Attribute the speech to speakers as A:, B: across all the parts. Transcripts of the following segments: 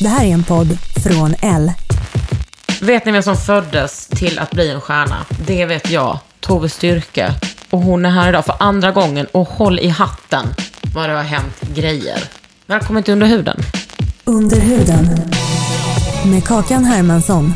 A: Det här är en podd från L.
B: Vet ni vem som föddes till att bli en stjärna? Det vet jag. Tove Styrke. Och hon är här idag för andra gången. Och håll i hatten vad det har hänt grejer. Välkommen till Under huden.
A: Under huden. Med Kakan Hermansson.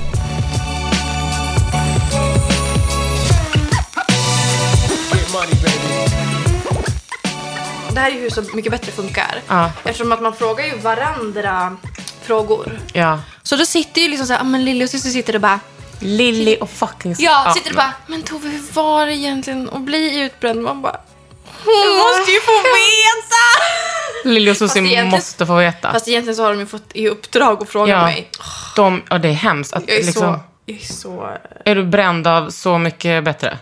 C: Det här är ju hur så mycket bättre funkar.
B: Ja.
C: Eftersom att man frågar ju varandra frågor.
B: Ja.
C: Så då sitter ju liksom såhär, ah, men lillasyster sitter och bara,
B: Lilly och fucking...
C: ja, sitter och bara, men Tove hur var det egentligen att bli utbränd? Man bara, du måste ju få veta!
B: Lilly och
C: Fast
B: Susie
C: egentligen-
B: måste få veta.
C: Fast egentligen så har de ju fått i uppdrag att fråga
B: ja.
C: mig.
B: De, ja, det är hemskt. Att,
C: Jag är
B: liksom,
C: så, jag är så
B: Är du bränd av Så mycket bättre?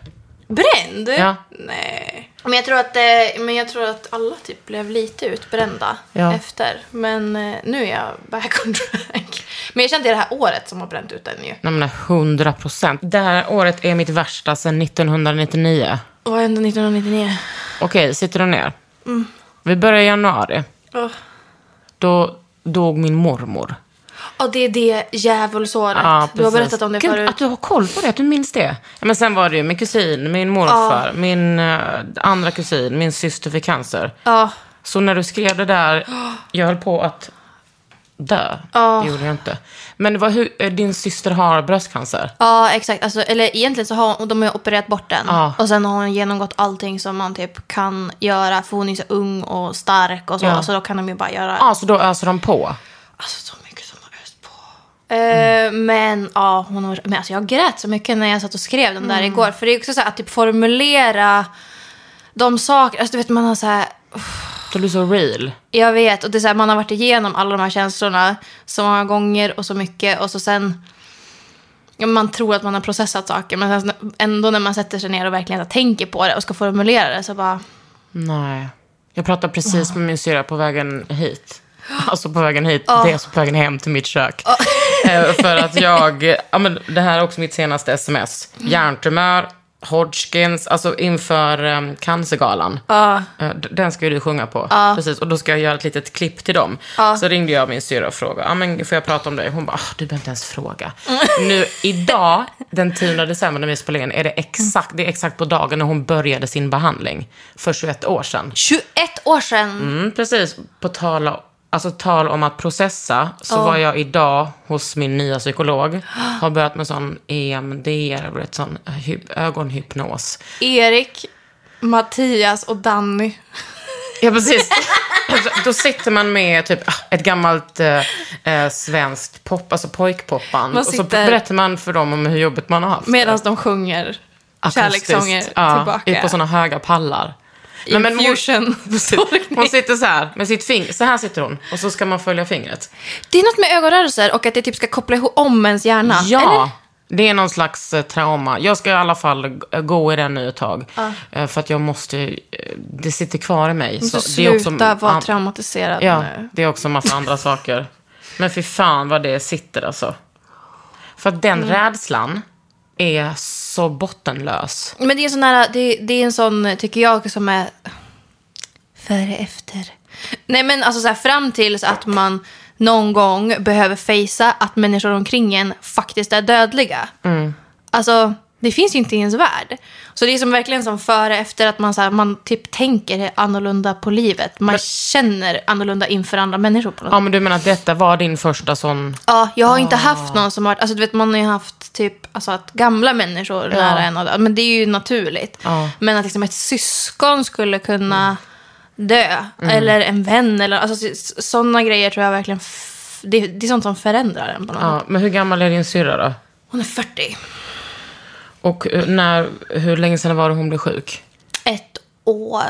C: bränd.
B: Ja.
C: Nej. Men jag, tror att, eh, men jag tror att alla typ blev lite utbrända
B: Ja.
C: efter. Men eh, nu är jag back on track. Men jag känner att det är det här året som har bränt ut en ju.
B: Nej, men 100 procent. Det här året är mitt värsta sedan 1999.
C: Vad hände 1999?
B: Okej, sitter du ner?
C: Mm.
B: Vi börjar i januari.
C: Åh.
B: Då dog min mormor.
C: Ja, det är det djävulsåret.
B: Ja,
C: du har
B: precis.
C: berättat om det
B: Gud,
C: förut.
B: Att du har koll på det, att du minns det. Ja, men sen var det ju min kusin, min morfar, min eh, andra kusin, min syster fick cancer.
C: Ja,
B: Så när du skrev det där, jag höll på att dö. Det gjorde jag inte. Men det var hur, eh, din syster har bröstcancer.
C: ja exakt. Alltså, eller egentligen så har hon, de har ju opererat bort den.
B: Ja.
C: Och sen har hon genomgått allting som man typ kan göra. För hon är ju så ung och stark och så.
B: Ja.
C: Så då kan de ju bara göra
B: Ja, så då öser de på.
C: alltså, så mycket som har öst på. Eh,
B: Mm.
C: men ja, hon har, men alltså, jag grät så mycket när jag satt och skrev den där
B: Mm.
C: igår. För det är också så här att typ formulera de saker. Alltså du vet man har så här.
B: Det blir så real.
C: Jag vet, och det är så här, man har varit igenom alla de här känslorna så många gånger och så mycket och så sen... ja, Man tror att man har processat saker men sen, ändå när man sätter sig ner och verkligen så här, tänker på det och ska formulera det så bara...
B: Nej. Jag pratade precis med min syrra på vägen hit. Alltså på vägen hit, det är alltså på vägen hem till mitt kök. Eh, För att jag, ja men det här är också mitt senaste sms. Hjärntumör, Hodgkins, alltså inför um, Cancergalan. Eh, d- Den ska ju du sjunga på. Precis, och då ska jag göra ett litet klipp till dem. Så ringde jag min syrra och frågade, ja men får jag prata om dig? Hon bara, ah, du behöver inte ens fråga. nu idag, den 10 december när vi spelar in, är det exakt, det är exakt på dagen när hon började sin behandling. För 21 år sedan.
C: 21 år sedan!
B: Mm, precis. På tal, alltså, tal om att processa, så var jag idag hos min nya psykolog. Har börjat med sån EMDR, du vet, sån hy- ögonhypnos.
C: Erik, Mattias och Danny.
B: Ja, precis. Alltså, Då sitter man med typ ah, ett gammalt eh, eh, svenskt pop, alltså pojkpopband.
C: Man
B: Och så
C: sitter-
B: berättar man för dem om hur jobbigt man har haft. det.
C: Medan de sjunger
B: Akustiskt.
C: kärlekssånger
B: ja,
C: tillbaka.
B: På såna höga pallar. Nej, men hon-
C: Infusion.
B: Hon sitter så här med sitt finger. Så här sitter hon. Och så ska man följa fingret.
C: Det är något med ögonrörelser och att det typ ska koppla ihop om ens hjärna.
B: Ja,
C: Eller?
B: det är någon slags eh, trauma. Jag ska i alla fall g- gå i den nu ett tag. Eh, För att jag måste, eh, det sitter kvar i mig.
C: Så
B: det är
C: sluta
B: också-
C: vara
B: an-
C: traumatiserad
B: Ja,
C: nu.
B: det är också en massa andra saker. Men för fan vad det sitter alltså. För att den rädslan är så bottenlös.
C: Men det är, en sån här, det, det är en sån, tycker jag, som är före efter. Nej men alltså så här, fram tills att man någon gång behöver fejsa att människor omkring en faktiskt är dödliga. Alltså, Det finns ju inte i ens värld. Så det är som verkligen som före efter att man, så här, man typ tänker annorlunda på livet. Man känner annorlunda inför andra människor på något
B: Ja, men du menar att detta var din första sån...
C: Ja, jag har
B: Ah.
C: inte haft någon som har varit, alltså du vet man har ju haft typ, alltså att gamla människor nära en, och, men det är ju naturligt.
B: Ja. Mm.
C: Men att liksom ett syskon skulle kunna dö, eller en vän, eller alltså sådana grejer tror jag verkligen, f- det, det är sånt som förändrar en på något sätt.
B: Ja, men hur gammal är din syrra då?
C: Hon är 40.
B: Och eh, när, hur länge sedan var det hon blev sjuk?
C: Ett år,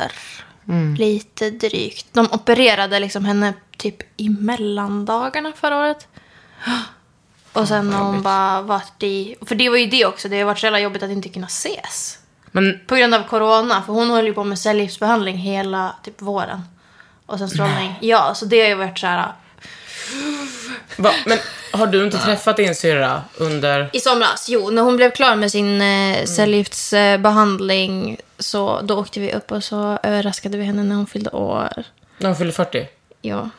C: lite drygt. De opererade liksom henne typ i mellandagarna förra året. Och sen har hon bara varit i... För det var ju det också, det har varit så jävla jobbigt att inte kunna ses.
B: Men
C: På grund av corona, för hon höll ju på med cellgiftsbehandling hela typ våren. Och sen strålning. Ja, så det har ju varit så här...
B: Va? Men har du inte träffat din syrra under...
C: I somras, jo, när hon blev klar med sin eh, cellgiftsbehandling så då åkte vi upp och så överraskade vi henne när hon fyllde år.
B: När hon fyllde 40?
C: Ja.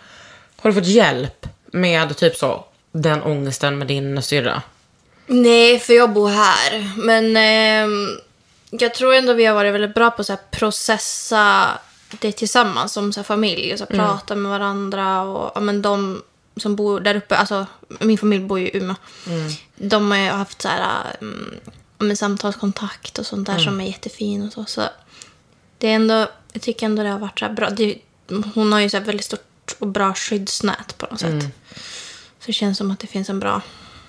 B: Har du fått hjälp med typ så, den ångesten med din syrra?
C: Nej, för jag bor här. Men ehm, jag tror ändå vi har varit väldigt bra på att processa det tillsammans som så här, familj. Och, så här, Prata med varandra och ja, men, de som bor där uppe. Alltså, min familj bor ju i Umeå. De har ju haft så här, mm, ja, men, samtalskontakt och sånt där som är jättefin och så. så det är ändå, jag tycker ändå det har varit så här bra. Det, hon har ju så här väldigt stort och bra skyddsnät på något sätt. Så det känns som att det finns en bra,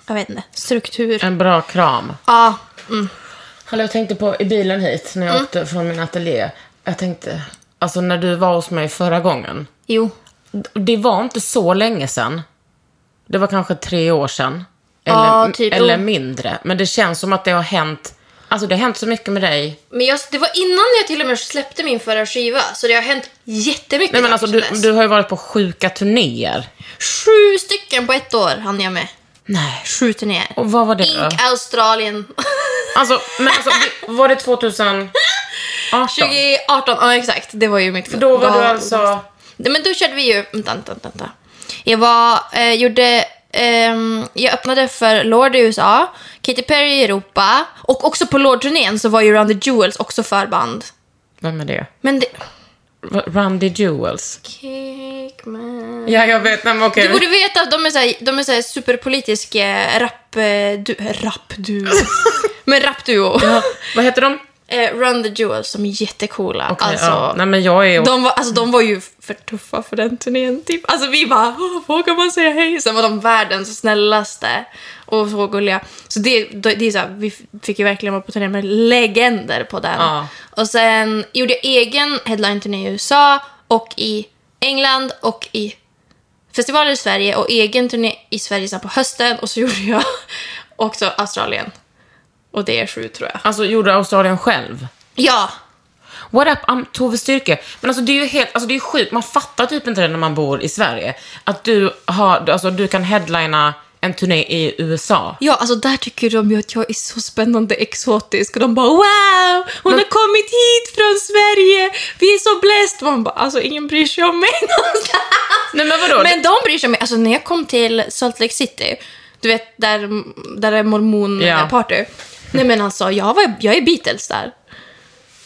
C: jag vet inte, struktur.
B: En bra kram.
C: Ja,
B: Hallå, jag tänkte på i bilen hit när jag
C: Mm.
B: åkte från min ateljé. Jag tänkte, alltså när du var hos mig förra gången.
C: jo.
B: Det var inte så länge sedan. Det var kanske tre år sedan. Eller,
C: Ja, typ.
B: eller mindre. Men det känns som att det har hänt, alltså det har hänt så mycket med dig.
C: Men jag, det var innan jag till och med släppte min förra skiva, så det har hänt jättemycket
B: Nej men alltså
C: sedan
B: du,
C: dess.
B: du har ju varit på sjuka turnéer.
C: Sju stycken på ett år hann jag med.
B: Nej.
C: Sju turnéer.
B: Och vad var det då?
C: Ink Australien.
B: Alltså, men alltså, vi- var det 2018?
C: 2018, ja exakt. Det var ju mitt
B: Då var du alltså...
C: Nej, men då körde vi ju... Vänta, vänta, vänta. Jag var... Eh, gjorde... ehm, jag öppnade för Lord i USA, Katy Perry i Europa och också på Lord-turnén så var ju Round the Jewels också förband.
B: Vem är det?
C: Men det...
B: R- Randy Jewels.
C: Kick me.
B: Ja, jag vet. Nej, men okej.
C: Du borde veta att de är, så här, de är så här superpolitisk eh, rap... eh, Du, rapduo. Men rapduo.
B: Vad heter de?
C: Eh, Run the Jewels, som är jättecoola.
B: Okej,
C: alltså,
B: ja. Nej, men jag är...
C: de, var, alltså, de var ju för tuffa för den turnén. Typ. Alltså, vi bara, "Åh, vågar man säga hej? Sen var de världens snällaste och så gulliga. Så det, det, det är så här, vi fick ju verkligen vara på turné med legender på den.
B: Ja.
C: Och sen gjorde jag egen headline-turné i USA och i England och i festivaler i Sverige och egen turné i Sverige sen på hösten och så gjorde jag också Australien. Och det är sju tror jag.
B: Alltså, gjorde Australien själv?
C: Ja!
B: What up, I'm Tove Styrke. Men alltså det är ju helt, alltså det är sjukt, man fattar typ inte det när man bor i Sverige. Att du har, alltså du kan headlina en turné i USA.
C: Ja, alltså där tycker de ju att jag är så spännande exotisk och de bara wow, hon har kommit hit från Sverige, vi är så blessed. Man bara alltså ingen bryr sig om mig någonstans.
B: Nej men vadå?
C: Men de bryr sig om mig. Alltså när jag kom till Salt Lake City, du vet där, där är
B: Ja.
C: mormonparty. Nej men alltså jag, var, jag är Beatles där.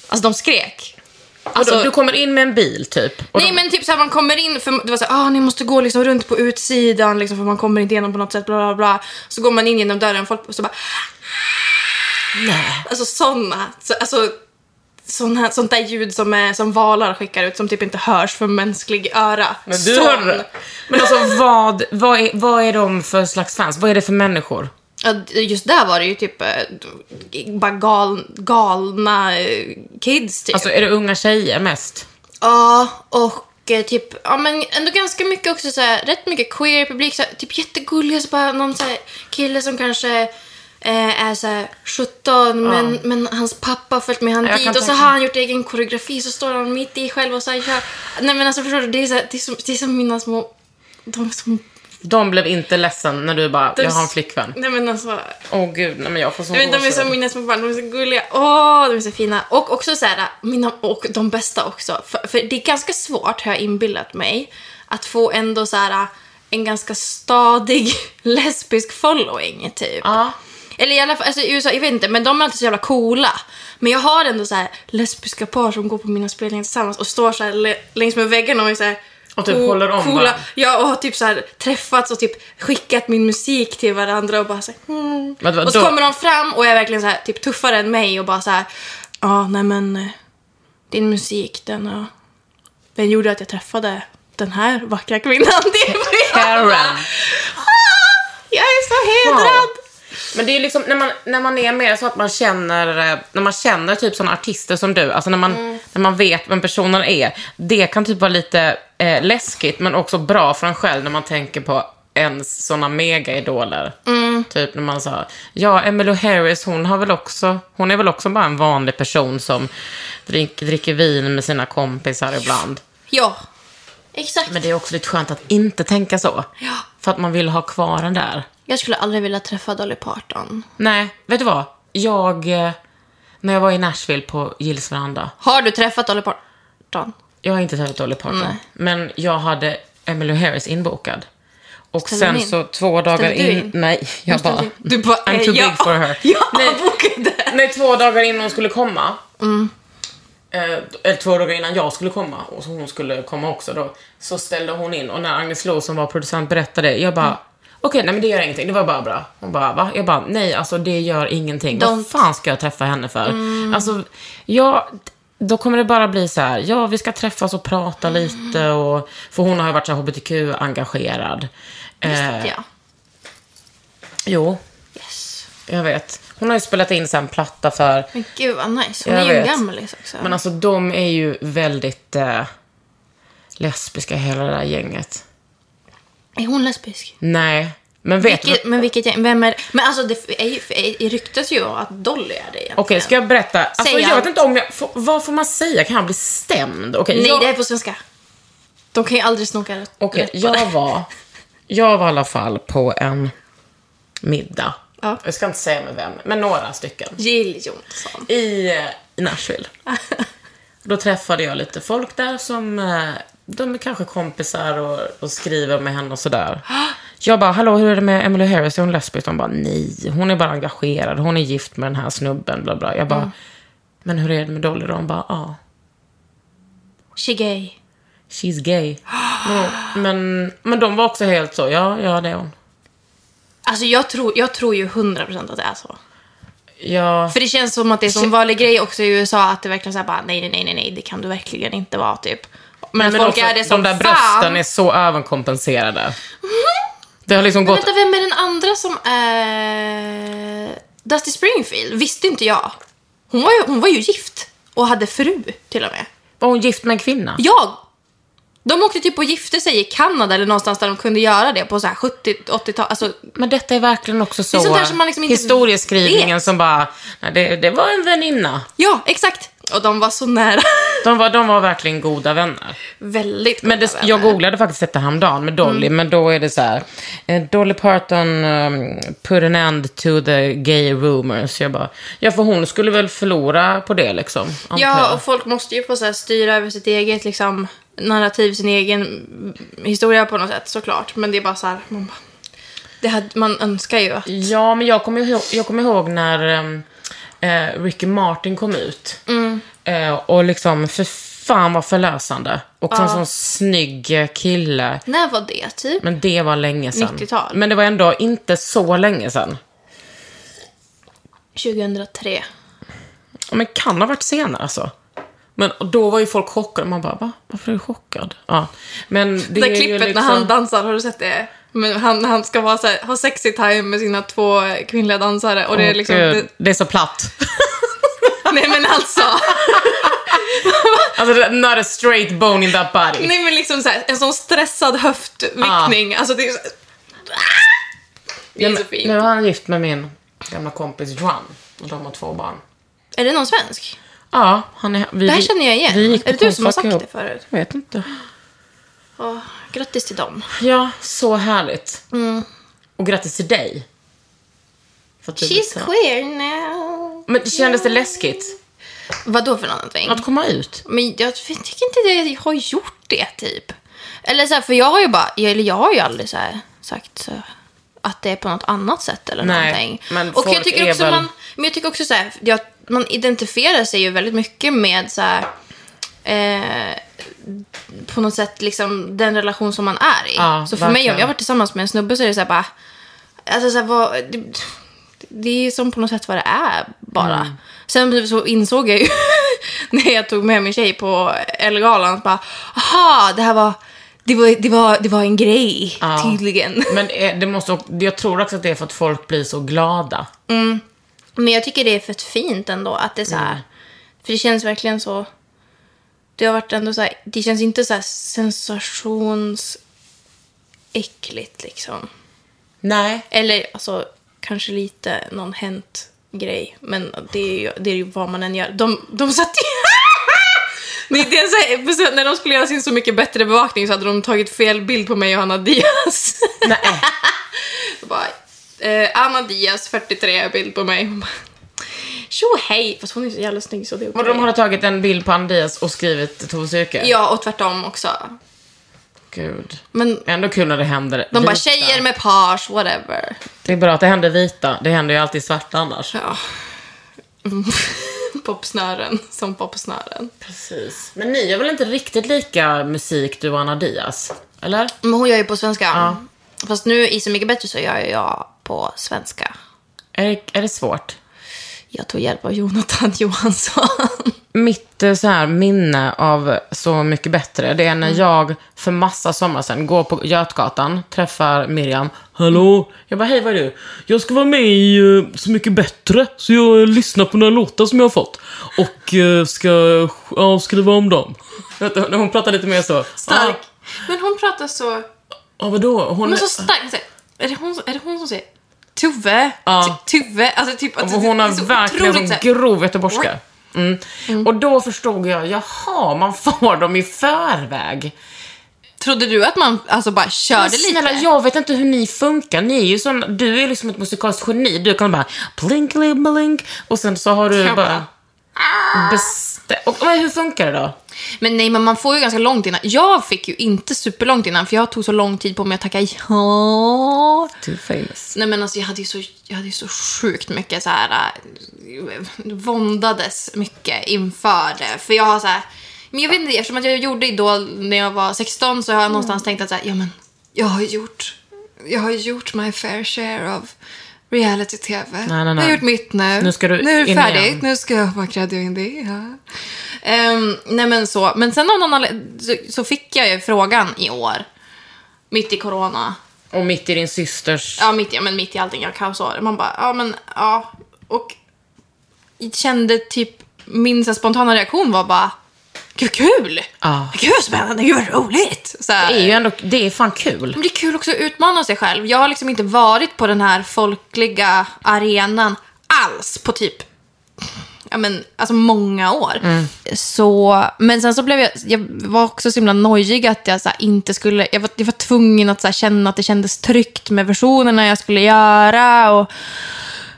C: Alltså de skrek.
B: Vadå,
C: Alltså-
B: du kommer in med en bil typ? Och
C: Nej men typ såhär man kommer in, för det var såhär, ah ni måste gå liksom runt på utsidan liksom för man kommer inte igenom på något sätt, bla bla bla. Så går man in genom dörren, folk och så bara
B: Nej.
C: Alltså såna, så, alltså såna, sånt där ljud som, är, som valar skickar ut som typ inte hörs för mänsklig öra.
B: Men du
C: Sån.
B: hörde det. Men alltså vad, vad, är, vad är de för slags fans? Vad är det för människor?
C: Ja, d- just där var det ju typ eh, d- bara gal, galna eh, kids typ.
B: Alltså är det unga tjejer mest?
C: Ja, och eh, typ, ja men ändå ganska mycket också så här, rätt mycket queer publik, så här, typ jättegulliga, så bara någon så här, kille som kanske eh, är så här 17, men, men hans pappa har följt med han
B: Jag
C: dit
B: kan
C: och så
B: tänka
C: har han gjort egen koreografi, så står han mitt i själv och så här, kör. Nej men alltså förstår du, det är, så här, det är, som, det är som mina små, de är som...
B: De blev inte ledsen när du bara, jag har en flickvän.
C: Nej men alltså,
B: Åh gud, nej men jag får sån
C: jag vet, de är
B: gåshud.
C: som mina små barn, de är så gulliga. Åh, de är så fina. Och också så här, mina, och de bästa också. För, för det är ganska svårt, har jag inbillat mig, att få ändå så här en ganska stadig lesbisk following, typ.
B: Ja.
C: Eller i alla fall, alltså i USA, jag vet inte, men de är alltid så jävla coola. Men jag har ändå så här lesbiska par som går på mina spelningar tillsammans och står så här le- längs med väggarna och är så här
B: Och typ
C: co-
B: håller om
C: coola.
B: varandra.
C: Ja, och har typ så här träffats och typ skickat min musik till varandra och bara så här, mm.
B: Men vadå?
C: Och så kommer de fram och är verkligen så här typ tuffare än mig och bara så här, ja, nej men eh, din musik, den, har- den gjorde att jag träffade den här vackra kvinnan. Det är
B: Karen.
C: Jag är så hedrad!
B: Wow. Men det är ju liksom när man, när man är mer så att man känner, eh, när man känner typ sådana artister som du, alltså när man, när man vet vem personen är, det kan typ vara lite eh, läskigt men också bra för en själv när man tänker på ens sådana megaidoler. Typ när man sa, ja Emmylou Harris hon har väl också, hon är väl också bara en vanlig person som drink, dricker vin med sina kompisar ibland.
C: Ja, exakt.
B: Men det är också lite skönt att inte tänka så.
C: Ja.
B: För att man vill ha kvar den där.
C: Jag skulle aldrig vilja träffa Dolly Parton.
B: Nej, vet du vad? Jag, eh, när jag var i Nashville på Gills veranda,
C: Har du träffat Dolly Parton?
B: jag har inte träffat Dolly Parton,
C: Nej.
B: men jag hade Emilie Harris inbokad. Och
C: Ställde
B: sen
C: hon in?
B: så två dagar
C: Ställde du
B: in,
C: in?
B: nej, jag bara,
C: Du bara,
B: I'm too
C: eh, ja,
B: big for her.
C: Ja,
B: Nej.
C: bokade.
B: Nej, två dagar innan hon skulle komma. Eh, eller två dagar innan jag skulle komma och så hon skulle komma också då. Så ställde hon in och när Agnes Lo som var producent berättade, jag
C: Mm.
B: bara Okej, nej men det gör ingenting. Det var bara bra. Hon bara, va? Jag bara, nej alltså det gör ingenting.
C: Don't. Mm.
B: Vad fan ska jag träffa henne för? Alltså, ja, då kommer det bara bli så här, ja vi ska träffas och prata
C: Mm.
B: lite och, för hon har ju varit så här hbtq-engagerad. Eh,
C: Ja.
B: Jo,
C: Yes.
B: jag vet. Hon har ju spelat in så här en platta för
C: Men gud vad nice. Hon
B: Jag
C: är ju en
B: vet.
C: liksom, gamlis också.
B: Men alltså de är ju väldigt eh, lesbiska hela det där gänget.
C: är hon lesbisk?
B: Nej, men vet du...
C: Vilket, men vilket gäng? Vem är Men alltså det, är ju, det ryktas ju att Dolly är det egentligen.
B: Okej, ska jag berätta? Alltså,
C: Säg
B: jag
C: allt.
B: vet inte om jag... Får, vad får man säga? Kan jag bli stämd? Okej,
C: Nej,
B: jag,
C: det är på svenska. De kan ju aldrig snoka rätt
B: okej,
C: rätt på
B: jag
C: det.
B: var... Jag var i alla fall på en middag.
C: Ja.
B: Jag ska inte säga med vem, men några stycken.
C: Jill Johnson.
B: I eh, i Nashville. Då träffade jag lite folk där som, eh, de är kanske kompisar och, och skriver med henne och sådär. Jag bara, hallå hur är det med Emily Harris, är hon lesbisk? De bara, nej, hon är bara engagerad, hon är gift med den här snubben, bla bla. Jag bara,
C: Mm.
B: men hur är det med Dolly då? De bara, ja, ah,
C: She gay.
B: she's gay. Men, men, men de var också helt så, ja, ja det är hon.
C: Alltså jag tror, jag tror ju 100% att det är så.
B: Ja,
C: För det känns som att det är som vanlig grej också i USA att det verkligen såhär bara nej, nej, nej, nej, nej, det kan du verkligen inte vara typ. Men, att
B: men
C: folk
B: också,
C: är det som
B: de där
C: fan.
B: brösten är så överkompenserade. Det har liksom
C: Men
B: gått
C: vänta, vem är den andra som är... Dusty Springfield visste inte jag. Hon var, ju, hon var ju gift och hade fru till och med.
B: Var hon gift med en kvinna?
C: Jag! De åkte typ och gifte sig i Kanada eller någonstans där de kunde göra det på så här 70-80-tal. Alltså,
B: Men detta är verkligen också så...
C: Det är sånt där som man liksom inte
B: historieskrivningen
C: vet.
B: som bara... Nej, det, det var en väninna.
C: ja, exakt! Och de var så nära.
B: De var, de var verkligen goda vänner.
C: Väldigt
B: Men det,
C: goda
B: jag
C: vänner.
B: googlade faktiskt detta häromdagen med Dolly,
C: Mm.
B: men då är det så här. eh, Dolly Parton um, put an end to the gay rumors. Jag bara, ja för hon skulle väl förlora på det liksom. antar
C: Ja,
B: jag.
C: och folk måste ju få så här, styra över sitt eget liksom, narrativ, sin egen mm, historia på något sätt såklart. Men det är bara så här, man, bara, det hade, man önskar ju att...
B: Ja, men jag kommer ihåg, jag kommer ihåg när ehm, eh, Ricky Martin kom ut.
C: Mm.
B: Eh, och liksom, för fan vad förlösande. Och en sån snygg eh, kille.
C: När var det typ?
B: Men det var länge sedan.
C: 90-tal.
B: Men det var ändå inte så länge sedan.
C: 2003.
B: Ja, Men kan ha varit senare alltså. Men och då var ju folk chockade. Man bara, va? Varför är du chockad? Ja. Men det,
C: Det där
B: är ju
C: klippet
B: liksom...
C: när han dansar, har du sett det? Men han, han ska vara så här, ha sexy time med sina två eh, kvinnliga dansare och det är
B: Åh,
C: liksom...
B: Gud,
C: Det,
B: det är så platt.
C: nej men alltså!
B: alltså, not a straight bone in that body.
C: nej men liksom så här, en sån stressad höftvickning. Alltså det är så... Det är
B: Ja,
C: så
B: men
C: fint.
B: Nu är han gift med min gamla kompis Juan. Och de har två barn.
C: Är det någon svensk?
B: Ja, han är... Vi,
C: Det här känner jag igen.
B: vi gick på
C: Är det du som har
B: konstfack
C: sagt
B: ihop.
C: det förut?
B: Jag vet inte.
C: Åh, grattis till dem.
B: Ja, så härligt.
C: Mm.
B: Och grattis till dig. För att du blev så-
C: She's queer now.
B: Men kändes det läskigt
C: Vad då för någonting?
B: att komma ut?
C: Men jag tycker inte det, jag har gjort det typ. Eller så här, för jag har ju bara, eller jag har ju aldrig så här sagt så. att det är på något annat sätt eller
B: Nej,
C: någonting.
B: men
C: och
B: folk
C: jag tycker
B: är
C: också
B: väl-
C: man, men jag tycker också så här, jag, man identifierar sig ju väldigt mycket med så här, eh, på något sätt liksom den relation som man är i.
B: Ja,
C: så för mig, om
B: verkligen.
C: jag varit tillsammans med en snubbe så är det så här bara, alltså så här, vad, det, det är som på något sätt vad det är bara.
B: Mm.
C: Sen så insåg jag ju när jag tog med min tjej på Ellegalan att bara, aha, det här var, det var, det var, det var en grej
B: Ja.
C: tydligen.
B: Men eh, det måste, också- jag tror också att det är för att folk blir så glada.
C: Men jag tycker det är för fint ändå att det är så här.
B: Mm.
C: För det känns verkligen så. Det har varit ändå så här, det känns inte så här sensationsäckligt liksom.
B: Nej.
C: Eller alltså kanske lite någon hänt grej. Men det är ju, det är ju vad man än gör. De, de satt ju... Nej, det är så här, för sen när de skulle göra sin Så mycket bättre bevakning så hade de tagit fel bild på mig och Anna Diaz.
B: Nej.
C: Jag bara, eh, Anna Diaz, 43, bild på mig. Hon bara, Tjo hej! Fast hon är så jävla snygg så det är
B: Men
C: okej.
B: de hade tagit en bild på Andias och skrivit Tove Styrke?
C: Ja, och tvärtom också.
B: Gud.
C: Men
B: Ändå kul när det händer
C: de bara,
B: vita.
C: tjejer med page, whatever.
B: Det är bra att det händer vita. Det händer ju alltid svarta annars.
C: Ja. Mm. popsnören, som popsnören.
B: Precis. Men ni gör väl inte riktigt lika musik, du och Anna Diaz? Eller?
C: Men hon gör ju på svenska. Fast nu i Så mycket bättre så gör jag på svenska.
B: Är det, är det svårt?
C: Jag tog hjälp av Jonathan Johansson.
B: Mitt eh, så här minne av Så mycket bättre, det är
C: Mm.
B: när jag för massa sommar sedan går på Götgatan, träffar Miriam. Hallå? Jag bara, hej vad är du? Jag ska vara med i eh, Så mycket bättre, så jag eh, lyssnar på några låtar som jag har fått. Och eh, ska ja, skriva om dem. Vet du, När hon pratar lite mer så.
C: Stark. Men hon pratar så...
B: Ja, vadå? Hon,
C: Hon är så stark. Så, här, är, det hon, är det hon som säger Tuve?
B: Ja.
C: Tu- Tuve? Alltså typ... Alltså,
B: Och hon
C: det är
B: har
C: så
B: verkligen
C: otroligt
B: en
C: så
B: sån
C: här-
B: grov göteborgska. Mm. Och då förstod jag, jaha, man får dem i förväg.
C: Trodde du att man alltså bara körde
B: Men
C: lite?
B: snälla, jag vet inte hur ni funkar. Ni är ju sån, du är liksom ett musikaliskt geni. Du kan bara blink, blink och sen så har du
C: Jag ah.
B: bara... Bestä- och, men hur funkar det då?
C: Men nej, men man får ju ganska långt innan. Jag fick ju inte superlångt innan, för jag tog så lång tid på mig att tacka ja.
B: Too famous.
C: Nej men alltså jag hade ju så, jag hade ju så sjukt mycket så här eh, våndades mycket inför det. För jag har så här, men jag vet inte, eftersom att jag gjorde Idol när jag var 16 så har jag någonstans tänkt att så här, ja men jag har ju gjort, jag har ju gjort my fair share of reality-tv.
B: nej, nej.
C: Jag har gjort mitt nu.
B: Nu ska du
C: nu är det
B: in
C: färdigt,
B: igen.
C: nu ska jag bara kradda in det. Ja. Ehm, nej men så, men sen av någon anledning- så, så fick jag ju frågan i år, mitt i corona.
B: Och mitt i din systers...
C: Ja, mitt i, ja, men mitt i allting. Jag kaosar. Man bara, ja men ja. Och kände typ, min så här spontana reaktion var bara, gud vad kul!
B: Ja.
C: Gud vad spännande, gud vad roligt! Så här.
B: Det är ju ändå, det är fan kul.
C: Men det är kul också att utmana sig själv. Jag har liksom inte varit på den här folkliga arenan alls på typ Ja, men, alltså många år.
B: Mm.
C: Så, men sen så blev jag, jag var också så himla nojig att jag så här, inte skulle, jag var, jag var tvungen att så här, känna att det kändes tryggt med versionerna jag skulle göra och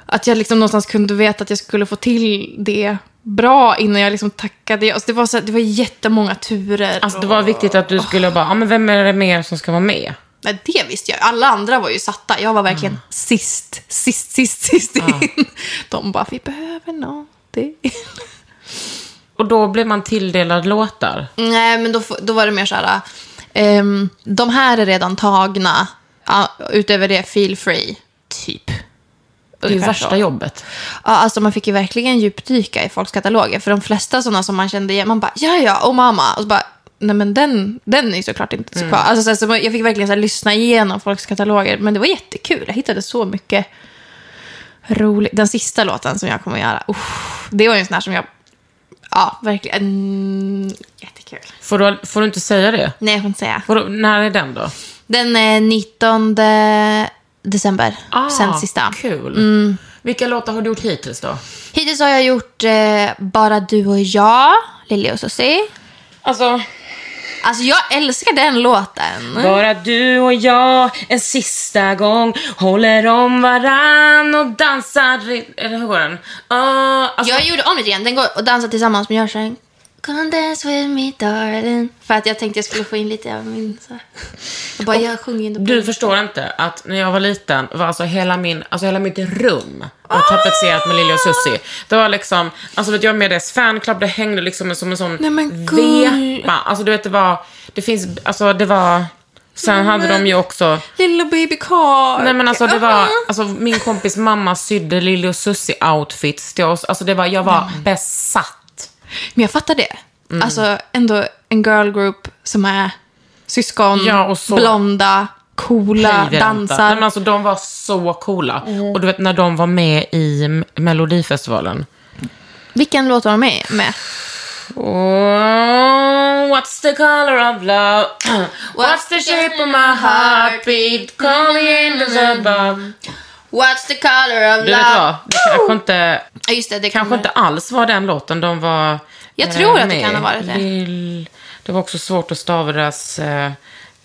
C: att jag liksom någonstans kunde veta att jag skulle få till det bra innan jag liksom tackade. Alltså, det, var så här, det var jättemånga turer.
B: Alltså det var
C: och-
B: viktigt att du skulle bara, ja men vem är det mer som ska vara med?
C: Nej, det visste jag. Alla andra var ju satta. Jag var verkligen sist, sist, sist, sist in. De bara, vi behöver någonting.
B: Och då blir man tilldelad låtar.
C: Nej, men då, f- då var det mer så här, ehm, de här är redan tagna. Ja, utöver det, feel free. Typ.
B: Det är ju värsta jobbet.
C: Ja, alltså man fick ju verkligen djupdyka i folks kataloger. För de flesta sådana som man kände igen, man bara ja, ja, och mamma. Och så bara, nej men den, den är ju såklart inte så kvar. Alltså, så, här, så man- jag fick verkligen så här, lyssna igenom folks kataloger. Men det var jättekul. Jag hittade så mycket roligt. Den sista låten som jag kommer att göra, uff, det var ju en sån här som jag, ja, verkligen, mm, jättekul.
B: Får du, får du inte säga det?
C: Nej, jag får inte säga.
B: Får du, när är den då?
C: Den är 19 december, sen sista.
B: Ah,
C: Mm.
B: Kul. Vilka låtar har du gjort hittills då?
C: Hittills har jag gjort eh, Bara du och jag, Lili och Susie.
B: Alltså,
C: Alltså jag älskar den låten.
B: bara du och jag en sista gång håller om varann och dansar... i- Eller hur går den? Ah, alltså,
C: Jag gjorde om det igen. Den går och dansar tillsammans med Görs en Come dance with me darling. För att jag tänkte jag skulle få in lite av min... Så. här- Jag bara, jag sjunger inte på
B: Du förstår inte att när jag var liten var alltså hela, min, alltså hela mitt rum var
C: Ah!
B: tapetserat med Lili och Susie. Det var liksom, alltså vet, jag var med i deras fanclub, det hängde liksom som en sån
C: Nej, men gull.
B: vepa. Alltså du vet det var, det finns, alltså det var, sen hade de ju också
C: Lilla baby Carl.
B: Nej men alltså det var, alltså min kompis mamma sydde Lili och Susie outfits till oss. Alltså det var, jag var besatt.
C: Men jag fattar det.
B: Mm.
C: Alltså ändå en girl group som är syskon,
B: Ja, och så-
C: blonda, coola,
B: Hej, Verenta. Nej,
C: dansar.
B: men alltså, de var så coola. Och du vet när de var med i M- Melodifestivalen. alltså-
C: Vilken låt var de med? med?
B: Oh, what's the color of love? What's the shape of my Mm. heartbeat? Call me in the above.
C: What's the color of
B: Du vet vad? Det kanske inte,
C: Ja, just det, det
B: kanske
C: kommer.
B: inte alls var den låten de var
C: Jag
B: eh,
C: tror att det
B: med
C: kan ha varit det.
B: Lill- Det var också svårt att stava deras... Eh,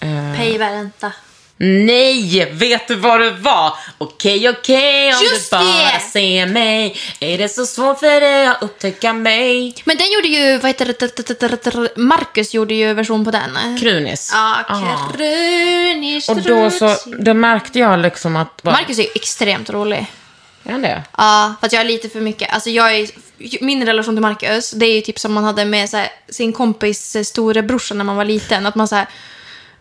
B: eh,
C: Pej Verenta.
B: Nej, vet du vad det var? Okej, okej, om
C: Just
B: du bara
C: det!
B: ser mig. Är det så svårt för dig att upptäcka mig?
C: Men den gjorde ju, vad heter det, det, det, det, det, det, Marcus gjorde ju version på den.
B: Krunis.
C: Ja,
B: Ah.
C: Krunis.
B: Och då så, då märkte jag liksom att... Bara,
C: Marcus är ju extremt rolig.
B: Är han det?
C: Ja, för att jag är lite för mycket. Alltså jag är, min relation till Marcus, det är ju typ som man hade med så här, sin kompis eh, storebrorsa när man var liten. Att man så här,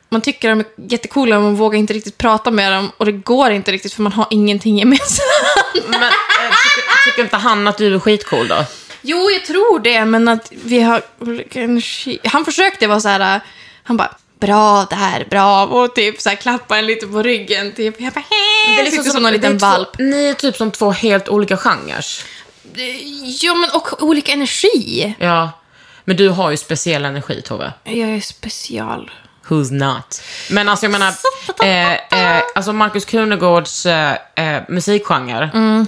C: man tycker de är jättecoola men man vågar inte riktigt prata med dem och det går inte riktigt för man har ingenting gemensamt.
B: Men eh, tycker, tycker inte han att du är skitcool då?
C: Jo, jag tror det, men att vi har olika energi. Han försökte vara så här, äh, han bara Bra där, bra. Och typ så här, klappa en lite på ryggen. Typ. Jag bara hej! Det är liksom som någon
B: det är
C: liten
B: två-
C: valp.
B: Ni är typ som två helt olika genrer.
C: Ja, men och olika energi.
B: Ja. Men du har ju speciell energi, Tove.
C: Jag är special.
B: Who's not? Men alltså jag menar, eh, eh, alltså Markus Krunegårds eh, eh, musikgenre.
C: Mm.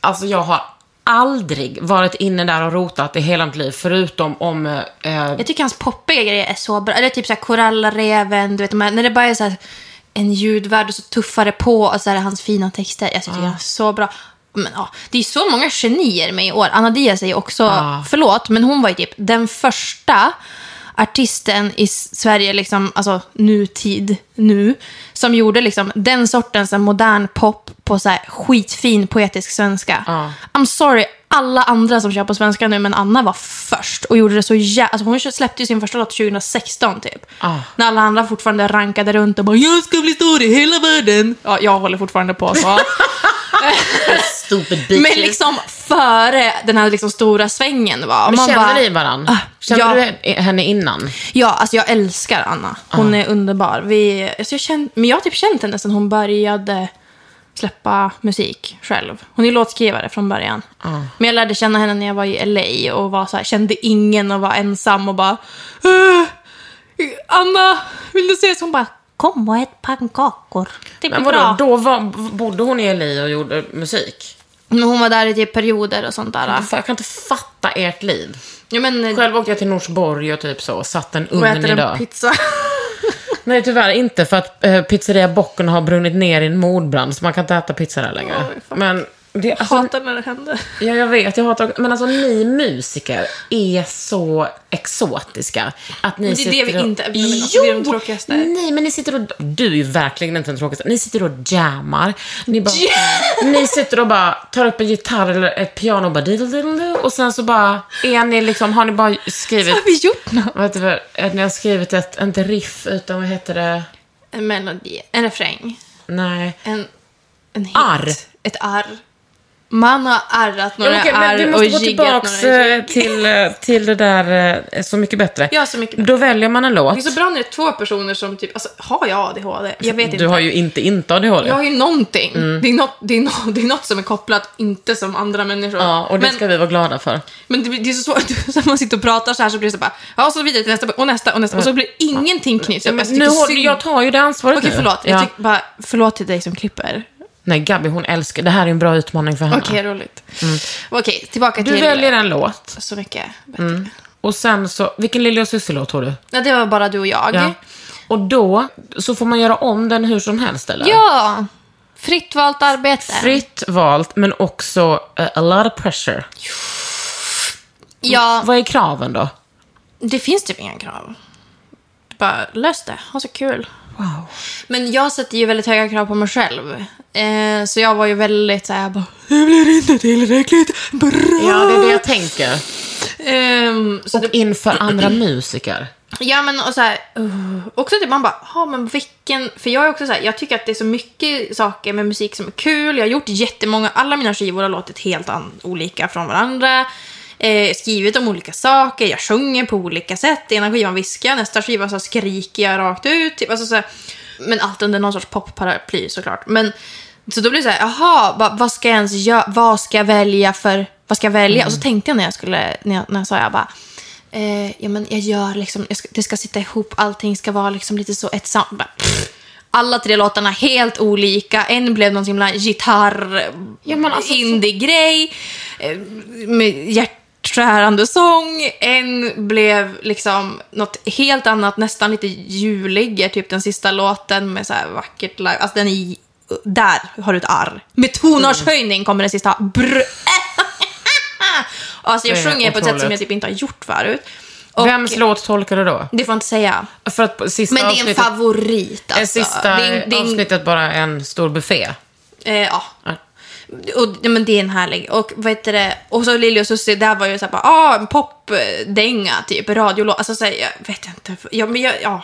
B: Alltså jag har aldrig varit inne där och rotat i hela mitt liv, förutom om... Eh, eh,
C: Jag tycker hans poppiga grejer är så bra. Eller typ såhär Korallreven, du vet de här, när det bara är såhär en ljudvärld och så tuffare på och så är det hans fina texter. Jag tycker det är så bra. Men ja, det är så många genier med i år. Anna Diaz är ju också, förlåt, men hon var ju typ den första artisten i S- Sverige, liksom, alltså nutid, nu, som gjorde liksom den sortens så här modern pop på så här skitfin poetisk svenska. I'm sorry, alla andra som kör på svenska nu, men Anna var först och gjorde det så jävla... Alltså hon släppte ju sin första låt 2016 typ. När alla andra fortfarande rankade runt och bara “Jag ska bli stor i hela världen”. Ja, jag håller fortfarande på så.
B: stupid bitches.
C: men liksom före den här liksom stora svängen var.
B: Men
C: Man
B: känner
C: bara-
B: ni varann?
C: Ah,
B: Känner
C: ja.
B: du henne innan?
C: Ja, alltså jag älskar Anna. Hon är underbar. Vi, alltså jag känt, men jag har typ känt henne sedan hon började släppa musik själv. Hon är låtskrivare från början. Men jag lärde känna henne när jag var i LA och var så här, kände ingen och var ensam och bara "Eh, Anna, vill du ses? Hon bara Kom och ät pannkakor. Det blir
B: Men vadå,
C: bra.
B: då var, bodde hon i LA och gjorde musik?
C: Men hon var där i typ perioder och sånt där.
B: Fan, Jag kan inte fatta ert liv.
C: Ja, men,
B: Själv åkte jag till Norsborg och typ så, satt en
C: och
B: ugn
C: äter
B: i
C: en
B: dö.
C: pizza.
B: Nej, tyvärr inte. För att eh, pizzeria Bocken har brunnit ner i en mordbrand, så man kan inte äta pizza där längre.
C: Oj, fan.
B: men det,
C: Jag
B: alltså,
C: hatar när det händer.
B: ja, jag vet, jag hatar Men alltså ni musiker är så exotiska. Att ni
C: Men det är det
B: sitter
C: vi
B: och,
C: inte är, vi är de
B: Jo!
C: tråkigaste.
B: Nej, men ni sitter och... Du är ju verkligen inte den tråkigaste. Ni sitter och jammar. Ni, bara, ni sitter och bara tar upp en gitarr eller ett piano och bara... diddle, diddle, diddle, Och sen så bara är ni liksom... Har ni bara skrivit...
C: Har vi gjort något?
B: Vad heter det? Att ni har skrivit ett, inte riff, utan vad heter det?
C: En melodi, eh, en refräng.
B: Nej.
C: En, en hit.
B: Arr.
C: Ett arr. Man har arrat några
B: Ja, okej, men vi
C: arr och
B: måste gå
C: jiggat
B: tillbaks
C: några
B: eh, till, eh, till det där eh, Så mycket bättre.
C: Ja, Så mycket bättre.
B: Då väljer man en
C: Det är
B: låt.
C: så bra när det är två personer som typ, alltså har jag ADHD? Jag vet inte.
B: Du har ju inte inte ADHD.
C: Jag har ju någonting. Det, är något, det, är no, det är något som är kopplat, inte som andra människor.
B: Ja, och det
C: men,
B: ska vi vara glada för.
C: men det, blir- det är så svårt, så när man sitter och pratar så här så blir det så bara, ja och så vidare till nästa och nästa och nästa och så blir ingenting knutet.
B: Men
C: Jag
B: nu
C: tycker
B: har,
C: synd.
B: Alltså, jag tar ju det ansvaret
C: Okej
B: nu.
C: förlåt,
B: Ja.
C: jag tycker bara, förlåt till dig som klipper.
B: Nej, Gabby hon älskar, det här är en bra utmaning för henne.
C: Okej, roligt. Okej, tillbaka
B: Du
C: till...
B: väljer en låt
C: Så mycket bättre.
B: och sen så, vilken Lille och Sissi-låt tror du?
C: Ja, det var bara du och jag.
B: Ja. Och då så får man göra om den hur som helst eller?
C: Ja! Fritt valt arbete.
B: Fritt valt men också eh, a lot of pressure.
C: Ja,
B: Vad är kraven då?
C: Det finns typ inga krav. Bara lös det, ha så kul.
D: Wow.
C: Men jag sätter ju väldigt höga krav på mig själv. Eh, så jag var ju väldigt såhär, jag bara, jag blir inte tillräckligt bra.
B: Ja, det är det jag tänker.
C: Ehm, så
B: Och inför andra musiker.
C: Ja men och så här, uh, också typ man bara, ja men vilken, för jag är också så här, jag tycker att det är så mycket saker med musik som är kul, jag har gjort jättemånga, alla mina skivor har låtit helt an, olika från varandra, eh, skrivit om olika saker, jag sjunger på olika sätt, ena skivan viskar jag, nästa skiva så skriker jag rakt ut, typ, alltså så här, men allt under någon sorts popparaply såklart. Men, så då blir det så här, jaha, va, vad ska jag ens göra, vad ska jag välja för, vad ska jag välja? Och så tänkte jag när jag skulle, när jag, när jag sa jag bara, eh, ja, men jag gör liksom, jag ska, det ska sitta ihop, allting ska vara liksom lite så ett sam... Bara, pff. Alla tre låtarna helt olika. En blev någon himla gitarr,
B: Ja, men alltså, så-
C: indie-grej eh, med hjärtskärande sång. En blev liksom något helt annat, nästan lite juligare, typ den sista låten med så här vackert live. Alltså den är... Där har du ett arr. Med tonartshöjning kommer den sista. Brr. Alltså jag
B: Det är
C: sjunger på ett sätt som jag
B: otroligt.
C: typ inte har gjort förut. Och
B: Vems låt tolkar du då?
C: det får jag inte säga.
B: För att på sista
C: Men det är en
B: avsnittet,
C: favorit
B: är
C: alltså.
B: sista
C: det är, det är, en-
B: avsnittet bara en stor buffé.
C: Eh, ja. Och, ja, men det är en härlig. Och vad heter det? Och så Lili och Susie, där var ju såhär bara, ah, en popdänga typ, radiolåt. Alltså såhär, jag vet inte. Ja, men jag, ja.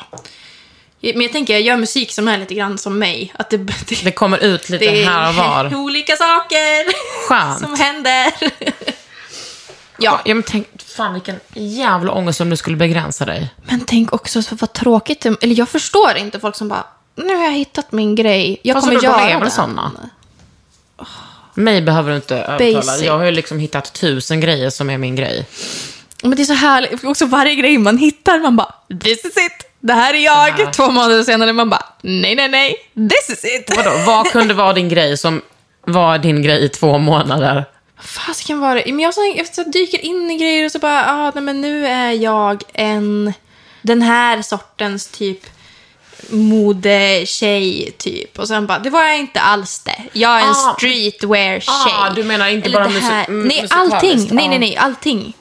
C: Men jag tänker, jag gör musik som är lite grann som mig. Att det, det,
B: Det kommer ut lite
C: det
B: här och
C: är
B: var.
C: olika saker
B: Skönt.
C: som händer. ja.
B: Ja, men tänk, fan vilken jävla ångest om du skulle begränsa dig.
C: Men tänk också så vad tråkigt det- Eller jag förstår inte folk som bara, nu har jag hittat min grej. Jag
B: Fast
C: kommer
B: de är
C: göra
B: väl
C: den.
B: såna? Mig behöver du inte övertala.
C: Basic.
B: Jag har ju liksom hittat tusen grejer som är min grej.
C: Men det är så härligt. Också varje grej man hittar, man bara “this is it”. Det här är jag.
B: här.
C: Två månader senare, man bara “nej, nej, nej, this is it”.
B: Vadå, vad kunde vara din grej som var din grej i två månader?
C: Fasiken var det? Men jag, så, jag så dyker in i grejer och så bara “ah, nej men nu är jag en... den här sortens typ modetjej typ. Och sen bara, det var jag inte alls det. Jag är en
B: Ah.
C: streetwear-tjej.
B: Ah, du menar inte
C: Eller
B: bara
C: det
B: musi-
C: här-
B: mm,
C: Nej,
B: musikaliskt.
C: allting. Nej, nej,
B: Ah.
C: nej, allting.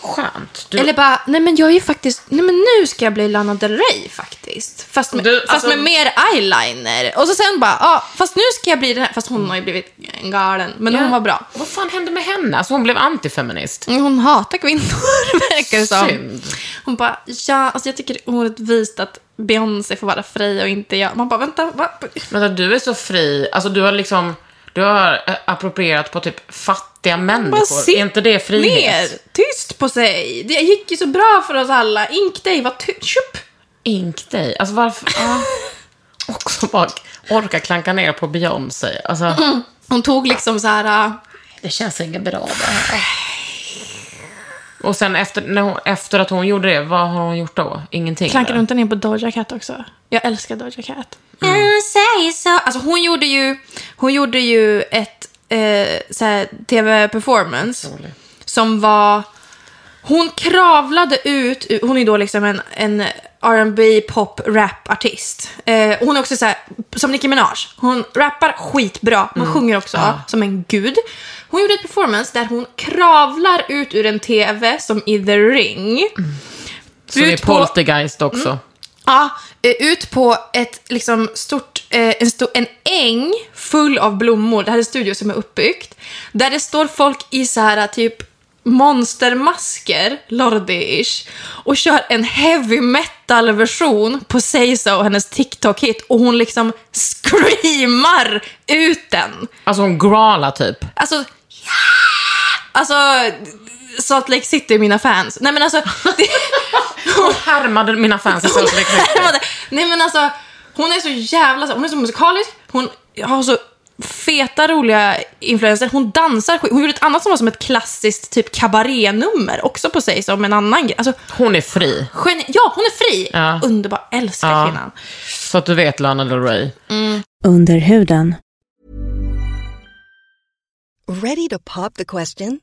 B: Skönt. Du,
C: Eller bara, nej men jag är ju faktiskt, nej men nu ska jag bli Lana Del Rey faktiskt. Fast med,
B: Du,
C: fast
B: alltså-
C: med mer eyeliner. Och så sen bara, ja, fast nu ska jag bli den här. Fast hon har ju blivit galen, men
B: Ja.
C: hon var bra.
B: Vad fan hände med henne? Alltså hon blev antifeminist.
C: Hon hatar kvinnor, verkar det som.
B: Synd.
C: Hon bara, ja, alltså jag tycker det är orättvist att Beyoncé får vara fri och inte jag. Man bara, vänta, va?
B: Vänta, du är så fri. Alltså du har liksom, du har eh, approprierat på typ fattiga människor. Är inte det frihet?
C: ner, tyst på sig. Det gick ju så bra för oss alla. Ink dig, var tyst. Tjup.
B: Ink dig. Alltså varför? Ah. Också bara orka klanka ner på Beyoncé. Alltså,
C: Hon tog liksom så här... äh,
B: det känns inget bra det här. Och sen efter, när hon, efter att hon gjorde det, vad har hon gjort då? Ingenting?
C: Klankar du
B: eller?
C: inte ner på Doja Cat också? Jag älskar Doja Cat. Mm. Say so. Alltså hon gjorde ju, hon gjorde ju ett eh, så här, tv-performance som var... Hon kravlade ut, ur- hon är då liksom en, en R&B pop rap artist eh, Hon är också så här, som Nicki Minaj. Hon rappar skitbra, men sjunger också som en gud. Hon gjorde ett performance där hon kravlar ut ur en tv som i The Ring.
B: Så det är
C: ut på- Mm.
B: poltergeist också.
C: Ja, eh, ut på ett liksom stort, eh, en, stor, en äng full av blommor. Det här är en studio som är uppbyggt. Där det står folk i så här typ monstermasker, Lordi-ish, och kör en heavy metal-version på Seiza och hennes TikTok-hit och hon liksom screamar ut den.
B: Alltså hon growlar typ.
C: Alltså, ja! Alltså, Salt Lake City är mina fans. Nej men alltså, det,
B: Hon härmade mina fans i Salt Lake City.
C: Vänta. Nej men alltså, hon är så jävla, hon är så musikalisk, hon har så feta roliga influenser, hon dansar skit. Hon gjorde ett annat som var som ett klassiskt typ kabarénummer också på sig som en annan grej. Alltså,
B: Hon är fri.
C: geni- ja hon är fri!
B: Ja.
C: Underbar, älskar
B: Ja.
C: kvinnan.
B: Så att du vet Lana Del Rey.
A: Under huden.
E: Ready to pop the question?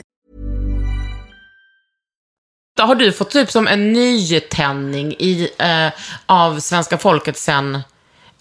B: Då har du fått typ som en nytändning i, eh, av svenska folket sen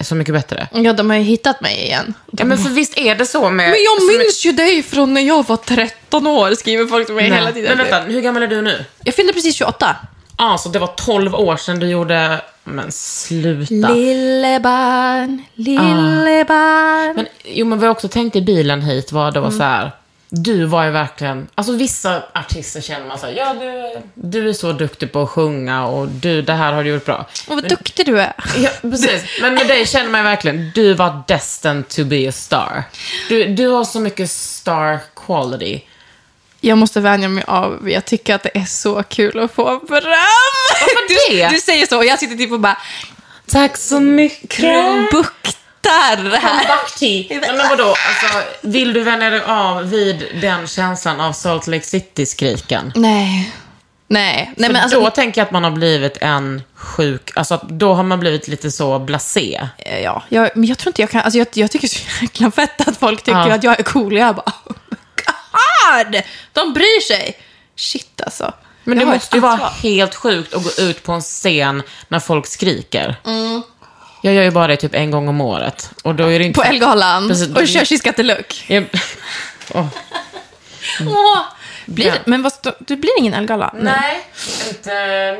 B: eh, Så mycket bättre.
C: Ja, de har ju hittat mig igen.
B: Ja, men för visst är det så med... som-
C: ju dig från när jag var 13 år, skriver folk till mig
B: Nej. Men vänta, hur gammal är du nu?
C: Jag fyllde precis 28.
B: Ja, så det var 12 år sedan du gjorde... Men sluta.
C: Lille barn,
B: Ah.
C: lille barn.
B: Men, jo, men vad jag också tänkte i bilen hit var då så här. Du var ju verkligen, alltså vissa artister känner man så här, ja du, du är så duktig på att sjunga och du, det här har du gjort bra.
C: Och vad duktig du är.
B: Ja, precis. Men med dig känner man ju verkligen, du var destined to be a star. Du, du har så mycket star quality.
C: Jag måste vänja mig av, jag tycker att det är så kul att få beröm.
B: Varför det?
C: Du, du säger så och jag sitter typ och bara
B: Tack så mycket.
C: buktar här.
B: Nej, men vadå, alltså, vill du vänja dig av vid den känslan av Salt Lake City-skriken?
C: Nej. Nej, nej
B: Men
C: men alltså,
B: då tänker jag att man har blivit en sjuk, alltså att då har man blivit lite så blasé.
C: alltså, eh, ja, jag, men jag tror inte jag kan, alltså jag, jag tycker så jäkla fett att folk tycker
B: Ja.
C: att jag är cool. Jag bara, oh my god! De bryr sig. Shit alltså.
B: Men
C: jag
B: det
C: har
B: måste ju
C: ett
B: vara
C: ansvar.
B: helt sjukt att gå ut på en scen när folk skriker. Jag gör ju bara det typ en gång om året. Och då är det inte...
C: På Elgalan
B: Precis.
C: och kör Kiskatteluk.
B: Jag- Åh.
C: Åh, blir,
B: Mm. Ja.
C: Men vad, stå- det blir ingen Elgala? nu?
B: Nej, inte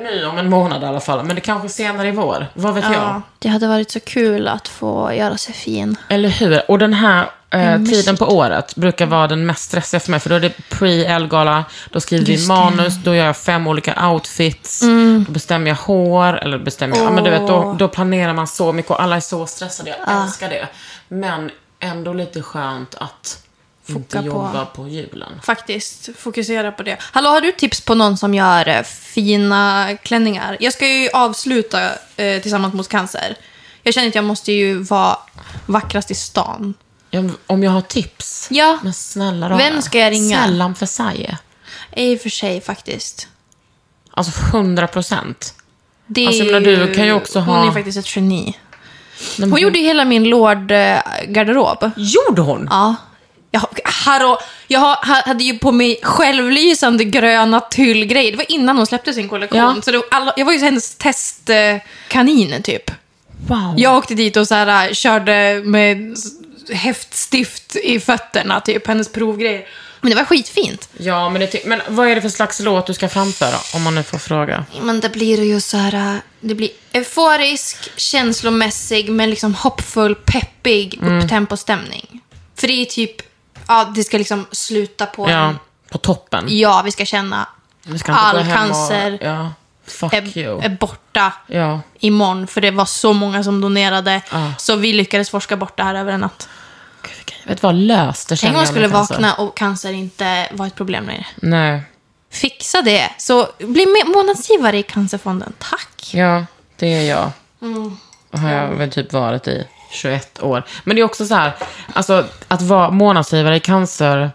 B: nu om en månad i alla fall. Men det kanske senare i vår. Vad vet jag?
C: Ja. Det hade varit så kul att få göra sig fin.
B: Eller hur? Och den här eh, tiden på året brukar vara den mest stressiga för mig. För då är det pre-Elgala, då skriver vi manus, då gör jag fem olika outfits,
C: Mm.
B: då bestämmer jag hår, eller bestämmer jag, ja, men du vet, då, då planerar man så mycket och alla är så stressade. Jag älskar det. Men ändå lite skönt att inte
C: på.
B: jobba på julen.
C: Faktiskt, fokusera på det. Hallå, har du tips på någon som gör eh, fina klänningar? Jag ska ju avsluta eh, Tillsammans mot cancer. Jag känner att jag måste ju vara vackrast i stan.
B: Ja, men Om jag har tips?
C: Ja.
B: Men snälla rara.
C: Vem ska jag ringa?
B: Sällan för sig.
C: Eh, I och för sig faktiskt.
B: Alltså 100 procent.
C: Det är
B: Alltså, jag menar, du kan ju också
C: hon
B: ha-
C: är faktiskt ett geni. Hon gjorde ju hela min Lord-garderob.
B: Gjorde hon?
C: Ja. Jag, hallå, jag har- ha- hade ju på mig självlysande gröna tyllgrejer. Det var innan hon släppte sin kollektion.
B: Ja.
C: Så det, var alla, jag var ju hennes testkanin typ.
B: Wow.
C: Jag åkte dit och så här, äh, körde med s- häftstift i fötterna, typ hennes provgrejer. Men det var skitfint.
B: Ja, men, det ty- men vad är det för slags låt du ska framföra? Om man nu får fråga.
C: Men det blir det ju så här, äh, det blir euforisk, känslomässig, men liksom hoppfull, peppig, upptempo-stämning. För det är typ, ja, det ska liksom sluta på
B: Ja,
C: en
B: på toppen.
C: Ja, vi ska känna
B: Vi ska inte
C: all
B: gå hem
C: cancer
B: Och, ja, fuck
C: är,
B: you.
C: är borta
B: ja.
C: imorgon. För det var så många som donerade.
B: Ah.
C: Så vi lyckades forska bort det här över en natt.
B: Vet du vad, löst det
C: Tänk
B: känner
C: om man
B: jag
C: skulle
B: med cancer.
C: vakna och cancer inte var ett problem längre.
B: Nej.
C: Fixa det. Så bli med, månadsgivare i Cancerfonden. Tack.
B: Ja, det är jag.
C: Mm.
B: Har jag väl typ varit i 21 år. Men det är också så här, alltså att vara månadsgivare i cancer,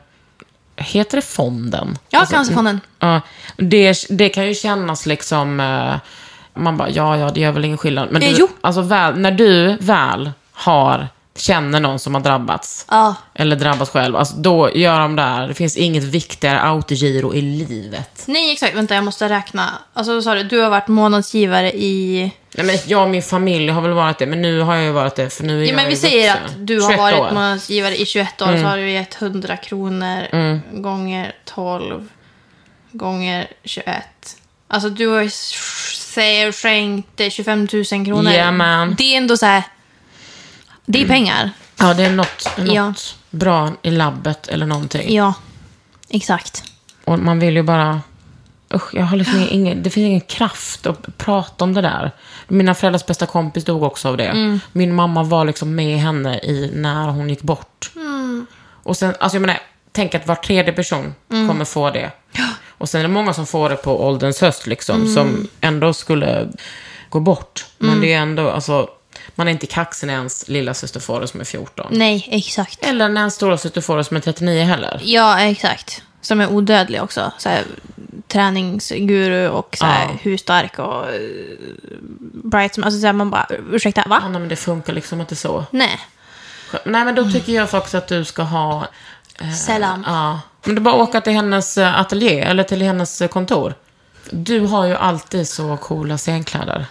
B: heter det fonden?
C: Ja, Cancerfonden.
B: Ja, det, det kan ju kännas liksom... eh, Man bara, ja, ja, det gör väl ingen skillnad. Men
C: Eh,
B: du,
C: jo.
B: alltså, väl, när du väl har, känner någon som har drabbats,
C: Ja.
B: eller drabbats själv, alltså, då gör de där. Det finns inget viktigare autogiro i livet.
C: Nej, exakt. Vänta, jag måste räkna. Alltså, vad sa du? Du har varit månadsgivare i...
B: Nej, men jag och min familj har väl varit det, men nu har jag ju varit det, för nu är
C: Ja,
B: jag
C: men
B: ju
C: vi säger
B: vuxen.
C: att du har
B: 21
C: varit
B: år. Mm.
C: månadsgivare i 21 år, så har du gett 100 kronor gånger 12 gånger 21. Alltså du har ju sk- säger skänkt eh, 25 000 kronor.
B: Ja, Mm. man.
C: Det är ändå så här... Det är pengar.
B: Ja, det är något, något
C: Ja.
B: bra i labbet eller någonting.
C: Ja, exakt.
B: Och man vill ju bara Usch, jag har liksom ingen, det finns ingen kraft att prata om det där. Mina föräldrars bästa kompis dog också av det. Min mamma var liksom med henne i när hon gick bort. Och sen, alltså jag menar, tänk att var tredje person kommer få det. Och sen är det många som får det på ålderns höst liksom, som ändå skulle gå bort. Men det är ändå, alltså, man är inte kaxig när ens lilla syster får det som är 14.
C: Nej, exakt.
B: Eller när ens stora syster får det som är 39 heller.
C: Ja, exakt. Som är odödlig också. Så här, träningsguru och så här,
B: Ja.
C: hur stark och eh, bright som... Alltså så här, man bara, ursäkta, va?
B: Ja, nej, men det funkar liksom inte så.
C: Nej.
B: Nej, men då tycker jag faktiskt att du ska ha... eh,
C: Sällan.
B: Ja. Men du bara åka till hennes eh, ateljé, eller till hennes eh, kontor. Du har ju alltid så coola scenkläder.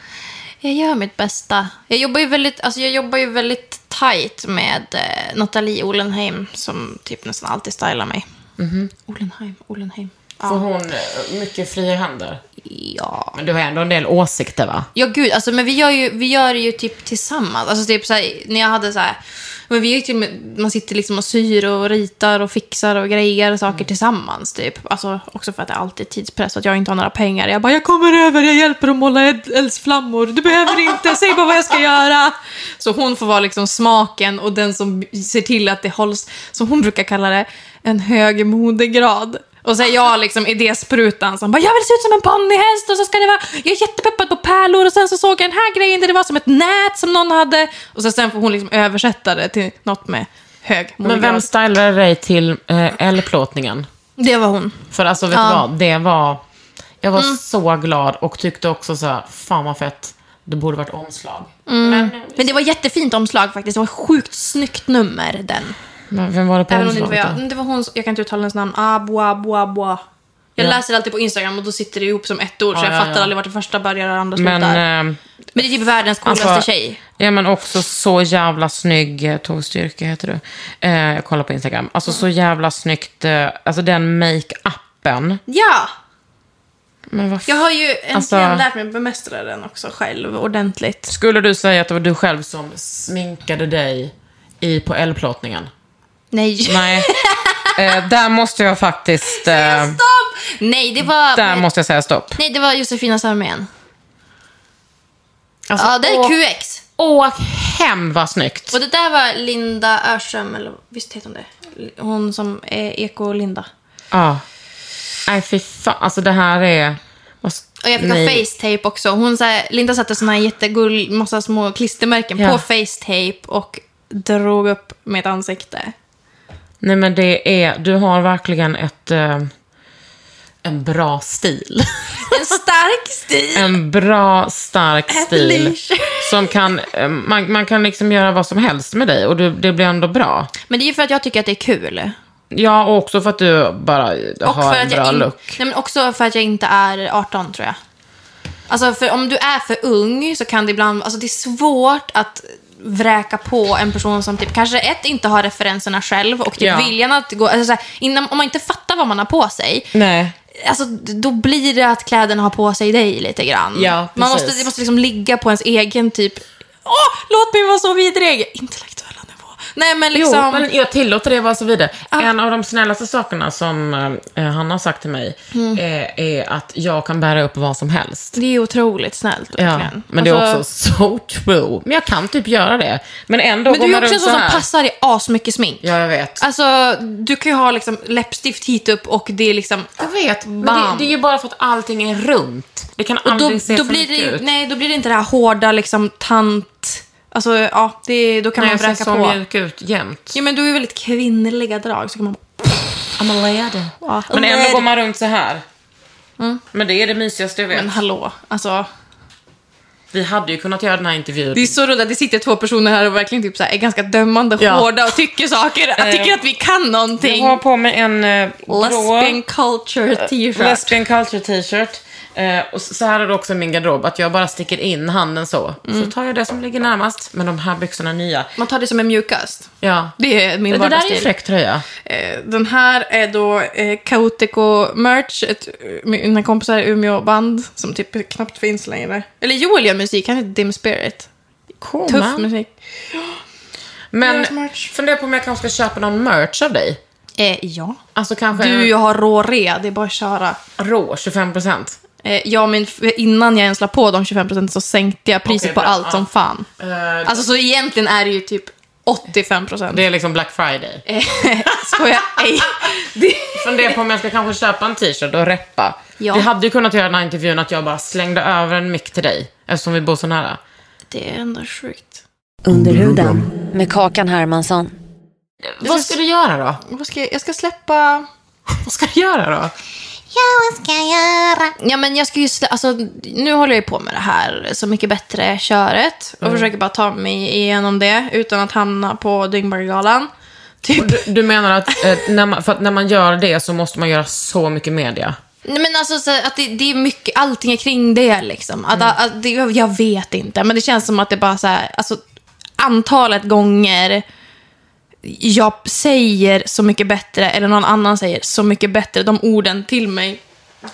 C: Jag gör mitt bästa. Jag jobbar ju väldigt, alltså jag jobbar ju väldigt tight med eh, Nathalie Olenheim som typ nästan alltid stylar mig.
B: Mhm.
C: Olenheim, Olenheim.
B: Får
C: Ja.
B: hon eh, mycket fria händer?
C: ja.
B: Men du har ändå en del åsikter, va?
C: Ja, gud. Alltså, men vi gör, ju, vi gör det ju typ tillsammans. Alltså, typ så här, när jag hade så här... Men vi är ju till, och med- man sitter liksom och syr och ritar och fixar och grejer saker tillsammans. Typ. Alltså, också för att det alltid är tidspress och att jag inte har några pengar. Jag bara, jag kommer över, jag hjälper att måla eld- eldsflammor. Du behöver inte, säg bara vad jag ska göra. Så hon får vara liksom smaken och den som ser till att det hålls, som hon brukar kalla det, en hög modegrad. Och så är jag liksom idésprutan som bara “jag vill se ut som en ponnyhäst” och så ska det vara “jag är jättepeppad på pärlor” och sen så såg jag den här grejen där det var som ett nät som någon hade. Och så sen får hon liksom översätta det till något med hög
B: Men vem stylade dig till eh, L-plåtningen?
C: Det var hon.
B: För alltså, vet du
C: Ja.
B: vad? Det var... Jag var så glad och tyckte också så här, fan vad fett. Det borde varit omslag.
C: Men det var jättefint omslag faktiskt. Det var ett sjukt snyggt nummer den.
B: Men vem var det på
C: Även om det inte
B: omslaget
C: var jag.
B: då?
C: Men Det var hon, som- jag kan inte uttala hennes namn. Ah, Abua, abua, abua. Jag
B: Ja.
C: läser alltid på Instagram och då sitter det ihop som ett ord
B: Ja,
C: så jag
B: ja,
C: fattar
B: ja.
C: aldrig vart det första börjar och det andra slutar.
B: Men...
C: Men, eh,
B: ehm,
C: det är typ världens coolaste tjej.
B: Alltså, Ja, men också så jävla snygg, eh, Tove Styrke heter du. Eh, jag kollar på Instagram. Alltså så jävla snyggt, eh, alltså den make-upen.
C: Ja!
B: Men vad f-
C: Jag har ju äntligen
B: Alltså-
C: lärt mig bemästra den också själv ordentligt.
B: Skulle du säga att det var du själv som sminkade dig i, på L-plåtningen?
C: Nej.
B: Nej. Eh, där måste jag faktiskt, eh,
C: Stopp! Nej, det var...
B: där måste jag säga stopp.
C: Nej, det var Josefina Salmén.
B: Alltså,
C: Ja, det
B: åk-
C: är QX.
B: Åk hem vad snyggt.
C: Och det där var Linda Örström, eller visst heter hon det? Hon som är Eko-Linda.
B: Ja. Nej, fy fan. Alltså det här är... vad s-
C: Och jag fick ha
B: Nej.
C: facetape också. Hon, så här, Linda satte såna här jättegull, massa små klistermärken
B: Ja.
C: på facetape och drog upp mitt ansikte.
B: Nej men det är, du har verkligen ett, eh, en bra stil.
C: En stark stil!
B: en bra, stark stil.
C: leash.
B: Som kan, eh, man, man kan liksom göra vad som helst med dig och du, det blir ändå bra.
C: Men det är ju för att jag tycker att det är kul.
B: Ja, och också för att du bara eh,
C: Och
B: har
C: för
B: en
C: att
B: bra
C: jag in-
B: look.
C: Nej, men också för att jag inte är 18 tror jag. Alltså för om du är för ung så kan det ibland, alltså det är svårt att vräka på en person som typ kanske ett inte har referenserna själv och typ
B: Ja.
C: viljan att gå, alltså så här, innan, om man inte fattar vad man har på sig,
B: Nej.
C: alltså då blir det att kläderna har på sig dig lite grann.
B: Ja,
C: man måste,
B: precis.
C: det måste liksom ligga på ens egen typ, åh, låt mig vara så vidrig, intellektuella nivå. Nej men liksom,
B: Jo, men jag tillåter det vara så vidare. En av de snällaste sakerna som eh, han har sagt till mig
C: Mm.
B: är, är att jag kan bära upp vad som helst.
C: det är otroligt snällt
B: Ja,
C: verkligen.
B: men det är
C: Alltså-
B: också so true. Men jag kan typ göra det. Men ändå
C: Men
B: går
C: du är
B: man
C: också en
B: runt
C: sån
B: så
C: som
B: här.
C: passar i asmycket smink.
B: Ja, jag vet.
C: Alltså, du kan ju ha liksom läppstift hit upp och det är liksom...
B: Jag vet, men det,
C: Bam.
B: det är ju bara för att allting är runt. Det kan
C: Och då,
B: aldrig se
C: då,
B: för
C: blir det
B: mycket
C: ju,
B: ut.
C: nej, då blir det inte det här hårda liksom tant... Alltså, ja, det, då kan
B: Nej, jag
C: man
B: ser
C: vräka
B: så
C: på.
B: mjuk ut jämt.
C: Ja, men du är ju väldigt kvinnliga drag så kan man...
B: I'm a lady.
C: Ja,
B: Men ändå
C: lady.
B: går man runt så här. Men det är det mysigaste jag vet.
C: Mm. Men hallå, alltså.
B: Vi hade ju kunnat göra den här intervjun.
C: Det är så roligt att det sitter två personer här och verkligen typ så här, är ganska dömande,
B: Ja.
C: hårda och tycker saker. Jag tycker att vi kan
B: Jag
C: någonting.
B: har på mig en eh, grå
C: Lesbian culture t-shirt.
B: lesbian culture t-shirt. Eh, och så här är det också i min garderob, att jag bara sticker in handen så.
C: Mm.
B: Så tar jag det som ligger närmast, men de här byxorna är nya.
C: Man tar det som är mjukast.
B: Ja.
C: Det är min
B: det där är
C: vardagsstil.
B: ju fräck tröja.
C: Eh, Den här är då eh, Kaotico Merch, ett, eh, mina kompisar i Umeå band som typ knappt finns längre. Eller Joel gör musik, han heter Dim Spirit.
B: Cool,
C: Tuff
B: man.
C: musik.
B: Men
C: Deras merch.
B: fundera på om jag kanske ska köpa någon merch av dig.
C: Eh, ja.
B: Alltså kanske
C: Du, jag har rå rea. Det är bara att köra.
B: rå, 25 procent.
C: Eh, ja, men f- innan jag ens la på de 25 procenten så sänkte jag priset
B: Okej,
C: på
B: bra.
C: allt
B: Ja.
C: som fan. alltså, så egentligen är det ju typ 85 procent.
B: Eh, Det är liksom Black Friday.
C: Eh. Skojar ej. Det...
B: Funderar på om jag ska kanske köpa en t-shirt och reppa.
C: Ja.
B: Vi hade ju kunnat göra den här intervjun att jag bara slängde över en mick till dig, eftersom vi bor så nära.
C: det är ändå sjukt.
A: Under huden. Med Kakan Hermansson.
B: Vad ska du göra då?
C: Vad ska jag, jag ska släppa...
B: Vad ska du göra då?
C: Ja, men jag ska ju slä... alltså, nu håller jag ju på med det här Så mycket bättre-köret. Och försöker bara ta mig igenom det utan att hamna på Dyngbaggegalan. Typ.
B: Du, du menar att, eh, när man, för att när man gör det så måste man göra så mycket media?
C: Nej, men alltså, så att det, det är mycket, allting är kring det. Liksom. Att, att, det jag vet inte, men det känns som att det bara så här, alltså, antalet gånger jag säger så mycket bättre, eller någon annan säger så mycket bättre, de orden till mig,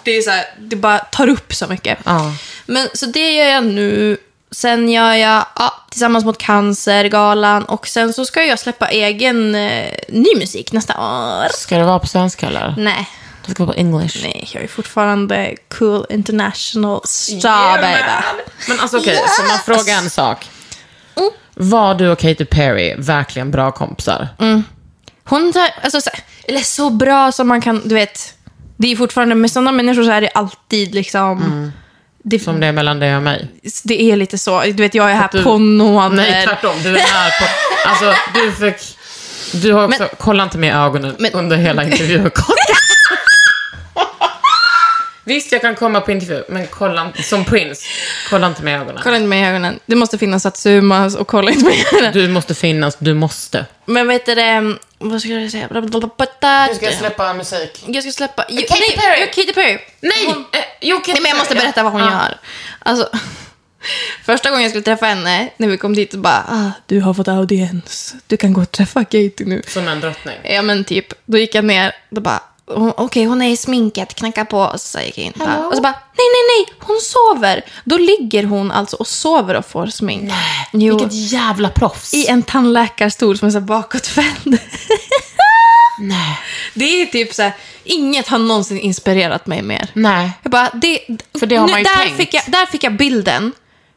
C: det, är så här, det bara tar upp så mycket.
B: Ja.
C: Men, så det gör jag nu. Sen gör jag ja, Tillsammans mot cancer-galan och sen så ska jag släppa egen eh, ny musik nästa år.
B: Ska det vara på svenska eller?
C: Nej,
B: Det ska vara på english.
C: Nej, jag är fortfarande cool international
B: Ja,
C: star baby.
B: Men alltså okej, så man frågar en sak.
C: Mm.
B: Var du och Katy Perry verkligen bra kompisar?
C: Hon tar, alltså, så, eller så bra som man kan, du vet. Det är fortfarande, med sådana människor så är det alltid liksom,
B: Mm.
C: det,
B: Som det är mellan dig och mig.
C: det är lite så. Du vet, jag är här
B: du-
C: på nåder.
B: Nej, tvärtom. Du är här på... Alltså, du fick... Du har också... kolla inte mig i ögonen
C: Men-
B: under hela intervjun. Kolla. Visst, jag kan komma på intervju, men kolla inte... Som prins, kolla inte mig i ögonen.
C: Kolla inte mig i ögonen. Det måste finnas Satsumas och kolla inte mig i ögonen.
B: Du måste finnas, du måste.
C: Men vet du det, vad ska jag säga?
B: släppa musik.
C: Jag ska släppa... Katy
B: Perry.
C: Katy Perry.
B: Nej!
C: Hon-
B: eh, jo, Katy
C: Nej, men jag måste
B: Perry.
C: berätta vad hon
B: Ja.
C: gör. Alltså, första gången jag skulle träffa henne, när vi kom dit, så bara ah, “Du har fått audiens, du kan gå och träffa Katie nu”.
B: Som en drottning.
C: Ja, men typ. Då gick jag ner, då bara hon- “Okej, hon är i sminket, knacka på” och så gick jag in. Bara, och så bara “Nej, nej, nej, hon sover!” Då ligger hon alltså och sover och får smink. Nej, jo,
B: Vilket jävla proffs.
C: I en tandläkarstol som är så här bakåtvänd.
B: Nej.
C: Det är typ så här, inget har någonsin inspirerat mig mer.
B: Nej.
C: Jag bara, det,
B: För det har man ju
C: där,
B: tänkt.
C: Fick jag, där fick jag bilden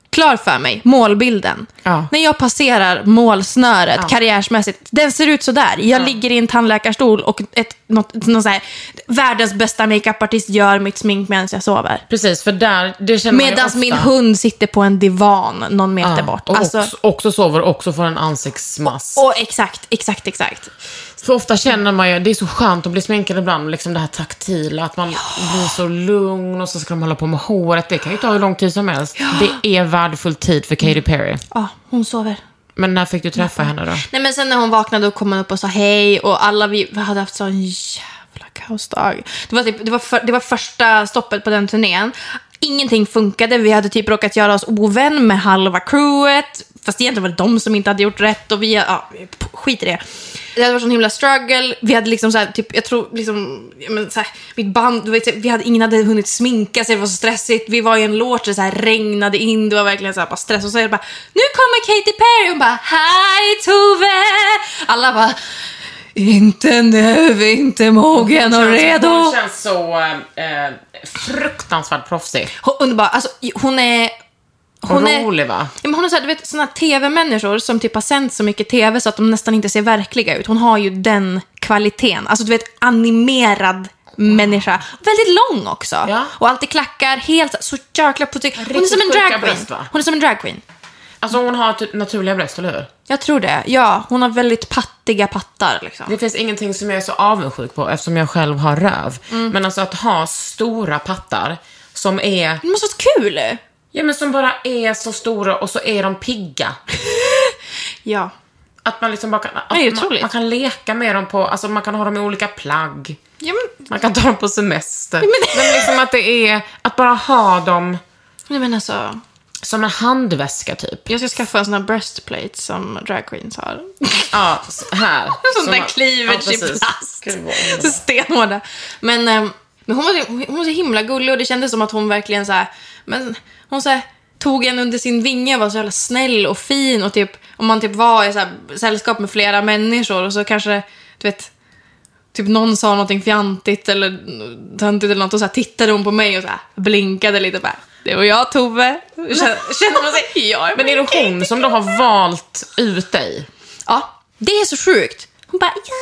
C: klar för mig, målbilden.
B: Ja.
C: När jag passerar målsnöret karriärsmässigt, den ser ut sådär. Jag ligger i en tandläkarstol och ett, något, någon så här, världens bästa makeupartist gör mitt smink medan jag sover.
B: Precis, för där, det känner man ju
C: Medan
B: ofta.
C: min hund sitter på en divan någon meter
B: Ja,
C: bort.
B: Ah, Och
C: Alltså,
B: också, också sover och också får en ansiktsmask.
C: och exakt, exakt, exakt.
B: För ofta känner man ju, det är så skönt att bli sminkad ibland, liksom det här taktila, att man blir så lugn och så ska de hålla på med håret. Det kan ju ta hur lång tid som helst. Det är värdefull tid för
C: Mm.
B: Katy Perry.
C: Ja, hon sover.
B: Men när fick du träffa henne då?
C: Nej men sen när hon vaknade och kom hon upp och sa hej och alla vi, vi hade haft sån jävla kaosdag. Det var, typ, det, var för, det var första stoppet på den turnén. Ingenting funkade, vi hade typ råkat göra oss ovän med halva crewet. Fast egentligen var det de som inte hade gjort rätt och vi, ja, skit i det. Det hade varit sån himla struggle, vi hade liksom så här, typ, jag tror liksom, ja, men så här, mitt band, du vet, vi hade, ingen hade hunnit sminka sig, det var så stressigt. Vi var i en låt där det så här regnade in, det var verkligen så här bara stress. Och så är det bara, nu kommer Katy Perry! Hon bara, hej Tove! Alla bara, inte nu, inte mogen och redo.
B: Hon känns så eh, fruktansvärt proffsig.
C: Hon, underbar, alltså hon är...
B: Och
C: Hon är,
B: rolig va?
C: Ja, men hon är så här, du vet såna här tv-människor som typ har sänt så mycket tv så att de nästan inte ser verkliga ut. Hon har ju den kvaliteten. Alltså du vet animerad människa. Väldigt lång också.
B: Ja.
C: Och alltid klackar, helt så- så jäkla på Hon är
B: Riktigt
C: som en
B: sjuka
C: dragqueen.
B: bröst, va?
C: Hon är som en dragqueen.
B: Alltså hon har typ naturliga bröst, eller hur?
C: Jag tror det. Ja, hon har väldigt pattiga pattar liksom.
B: Det finns ingenting som jag är så avundsjuk på eftersom jag själv har röv.
C: Mm.
B: Men alltså att ha stora pattar som är,
C: Det måste vara kul.
B: ja men som bara är så stora och så är de pigga.
C: Ja.
B: Att man liksom bara kan, att
C: Det är ju
B: man,
C: otroligt.
B: man kan leka med dem på, alltså man kan ha dem i olika plagg.
C: Ja, men,
B: Man kan ta dem på semester.
C: men-
B: Men liksom att det är, att bara ha dem
C: nej, men alltså.
B: som en handväska typ.
C: Jag ska skaffa en sån här breastplate som dragqueens har.
B: Ja, så här.
C: Sånt där
B: Som-
C: cleavage
B: ja, precis.
C: i plast.
B: Gud, vad underbart.
C: Så stenhårda. Men, ehm, men hon, var så, hon var så himla gullig och det kändes som att hon verkligen så här, men hon så här, tog en under sin vinge och var så jävla snäll och fin. Och typ, om man typ var i så här, sällskap med flera människor och så kanske, du vet, typ någon sa någonting fjantigt eller töntigt eller något och så här tittade hon på mig och så här blinkade lite bara. Det var jag Tove. Kände kände man sig, ja, jag
B: Men är det hon som då har valt ut dig?
C: Ja, det är så sjukt. Hon bara, ja,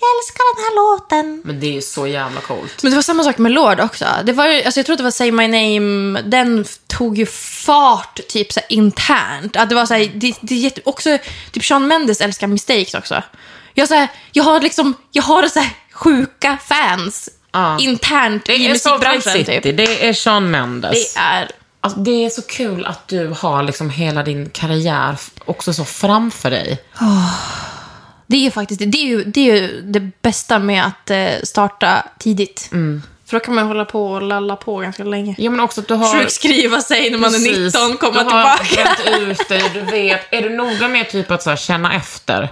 C: jag älskar den här låten.
B: Men det är så jävla coolt.
C: Men det var samma sak med Lord också. Det var ju, alltså jag tror att det var Say My Name, den f- tog ju fart typ så här, internt. Att det var så här, det, det är jätte, också, typ Sean Mendes älskar Mistakes också. Jag, så här, jag har liksom, jag har så här, sjuka fans
B: Ja.
C: internt
B: Det
C: i
B: är Salt Lake
C: musikbranschen
B: City,
C: typ.
B: det är Sean Mendes.
C: Det är,
B: Alltså, det är så kul att du har liksom hela din karriär f- också så framför dig.
C: det är faktiskt det. Är ju, det är ju det bästa med att eh, starta tidigt. För då kan man hålla på och lalla på ganska länge.
B: Mm. Ja, men också att du har...
C: sjukskriva sig när man är
B: Precis.
C: 19, komma
B: du har
C: tillbaka.
B: bränt ut dig, du vet. Är du noga med typ att så här, känna efter?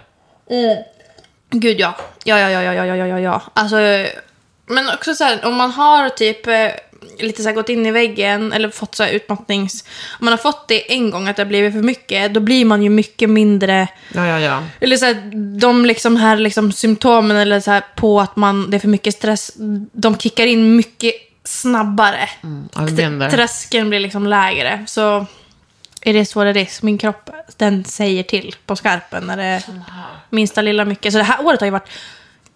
C: Gud ja. Ja, ja, ja, ja, ja, ja, ja, ja. Alltså, eh, men också så här, om man har typ eh, lite så här gått in i väggen eller fått så här utmattnings... Om man har fått det en gång, att det har blivit för mycket, då blir man ju mycket mindre...
B: Ja, ja, ja.
C: Eller så här, de liksom här liksom symptomen eller så här på att man, det är för mycket stress, de kickar in mycket snabbare.
B: I've been there.
C: Tröskeln blir liksom lägre. Så är det så det är. Min kropp, den säger till på skarpen när det är minsta lilla mycket. Så det här året har ju varit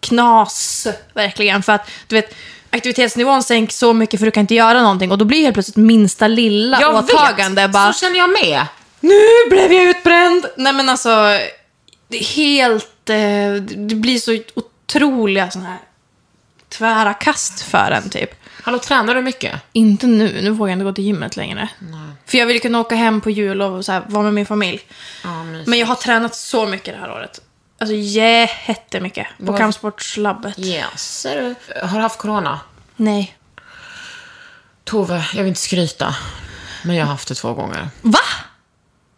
C: knas, verkligen. För att, du vet, aktivitetsnivån sänks så mycket för du kan inte göra någonting. Och då blir helt plötsligt minsta lilla
B: Jag
C: åtagande
B: vet,
C: bara...
B: så känner jag med.
C: Nu blev jag utbränd! Nej men alltså, det är helt... Eh, det blir så otroliga såna här tvära kast för en typ.
B: Hallå, tränar du mycket?
C: Inte nu, nu vågar jag inte gå till gymmet längre. För jag vill kunna åka hem på jullov och så här, vara med min familj.
B: Ja, mysigt.
C: Men jag har tränat så mycket det här året. Alltså jättemycket. På
B: Vad-
C: kampsportslabbet.
B: Yes. Ser du? Har du haft corona?
C: Nej.
B: Tove, jag vill inte skryta. Men jag har haft det två gånger.
C: Va?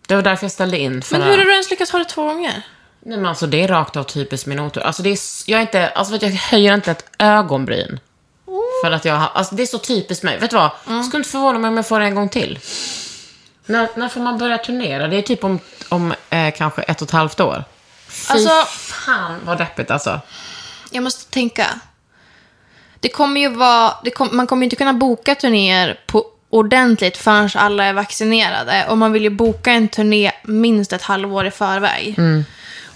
B: Det var därför jag ställde in. För
C: Men hur har du ens lyckats ha det två gånger?
B: Nej, men alltså, det är rakt av typiskt min otur. Alltså, det är, s- jag, är inte, alltså, vet, du, jag höjer inte ett ögonbryn. För att jag har- alltså, Det är så typiskt mig. Vet du vad?
C: Mm.
B: Skulle inte förvåna mig om jag får det en gång till. När, när får man börja turnera? Det är typ om, om eh, kanske ett och ett halvt år. Fy
C: Alltså-
B: fan vad deppigt alltså.
C: Jag måste tänka. Det kommer ju vara, det kom, man kommer ju inte kunna boka turnéer på ordentligt förrän alla är vaccinerade. Och man vill ju boka en turné minst ett halvår i förväg.
B: Mm.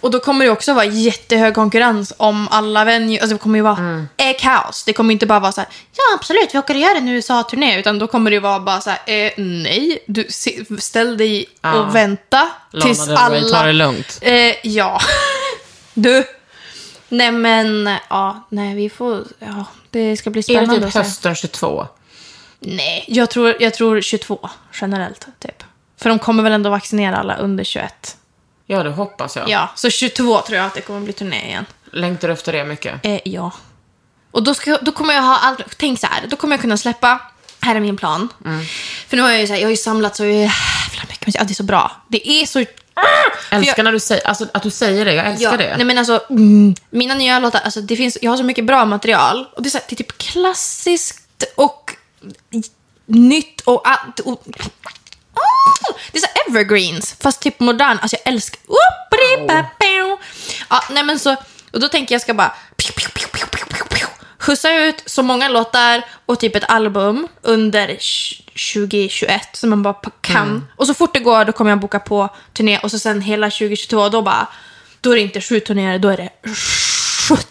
C: Och då kommer det också vara jättehög konkurrens om alla venue. Alltså det kommer ju vara
B: Mm.
C: eh, kaos. Det kommer inte bara vara så här, ja absolut, vi åker och gör en USA-turné. Utan då kommer det ju vara bara så här, eh, nej, du se- ställ dig och vänta
B: Lana
C: tills
B: Del Rey,
C: alla...
B: ta det lugnt.
C: Eh, ja. Du. Nej men, ja, nej vi får, ja, det ska bli
B: Är
C: spännande
B: det typ
C: att se.
B: hösten 22?
C: Nej, jag tror, jag tror 22 generellt, typ. För de kommer väl ändå vaccinera alla under 21.
B: Ja, det hoppas jag.
C: Ja, så 22 tror jag att det kommer bli turné igen.
B: Längtar du efter det mycket?
C: Eh, ja. Och då, ska, då kommer jag ha allt, tänk så här, då kommer jag kunna släppa, här är min plan. För nu har jag ju så här, jag har ju samlat så jävla mycket musik, ja, det är så bra. Det är så
B: Älskar när du säger, alltså, att du säger det. Jag älskar
C: Ja,
B: det.
C: Nej men alltså, mm, mina nya låtar, alltså det finns, jag har så mycket bra material. Och det är, så här, det är typ klassiskt och i- nytt och... allt- och Ah! det är så här evergreens, fast typ modern. Alltså jag älskar... Oop, bri, ba, pow. Ja, nej men så, och då tänker jag ska bara... Pew, pew, pew, pew, pew, pew, pew, skjutsa ut så många låtar och typ ett album under tj- 2021 som man bara pa- kan.
B: Mm.
C: Och så fort det går då kommer jag boka på turné och så sen hela 2022 då bara... Då är det inte sju turnéer, då är det 70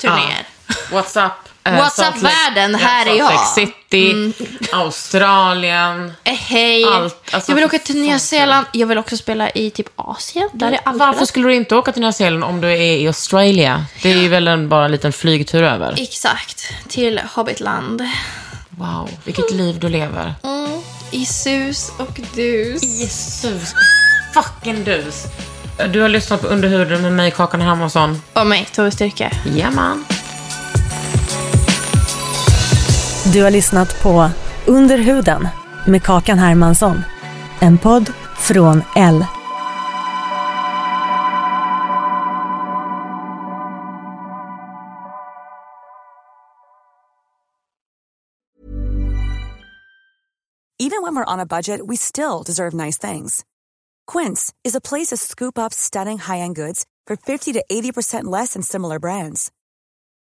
C: turnéer.
B: What's up? Eh,
C: What's
B: Salt
C: up,
B: Lake-
C: världen?
B: Ja,
C: Här
B: Salt
C: är jag. Mm.
B: Lake City, Australien.
C: Eh, Hej!
B: Allt, alltså,
C: jag vill
B: för
C: åka till Nya
B: fan.
C: Zeeland. Jag vill också spela i typ Asien. Där är allt
B: Varför
C: bra.
B: skulle du inte åka till Nya Zeeland om du är i Australien? Det är ju väl en, bara en liten flygtur över.
C: Exakt. Till Hobbitland.
B: Wow, vilket liv du lever.
C: Mm. I sus och dus.
B: Jesus fucking dus. Du har lyssnat på Under huden med mig, Kakan Hermansson.
C: Och mig, Tove Styrke.
B: Jajamän.
F: Du har lyssnat på Under huden med Kakan Hermansson. En podd från L.
G: Even when we're on a budget, we still deserve nice things. Quince is a place to scoop up stunning high end goods for 50 to 80% less than similar brands.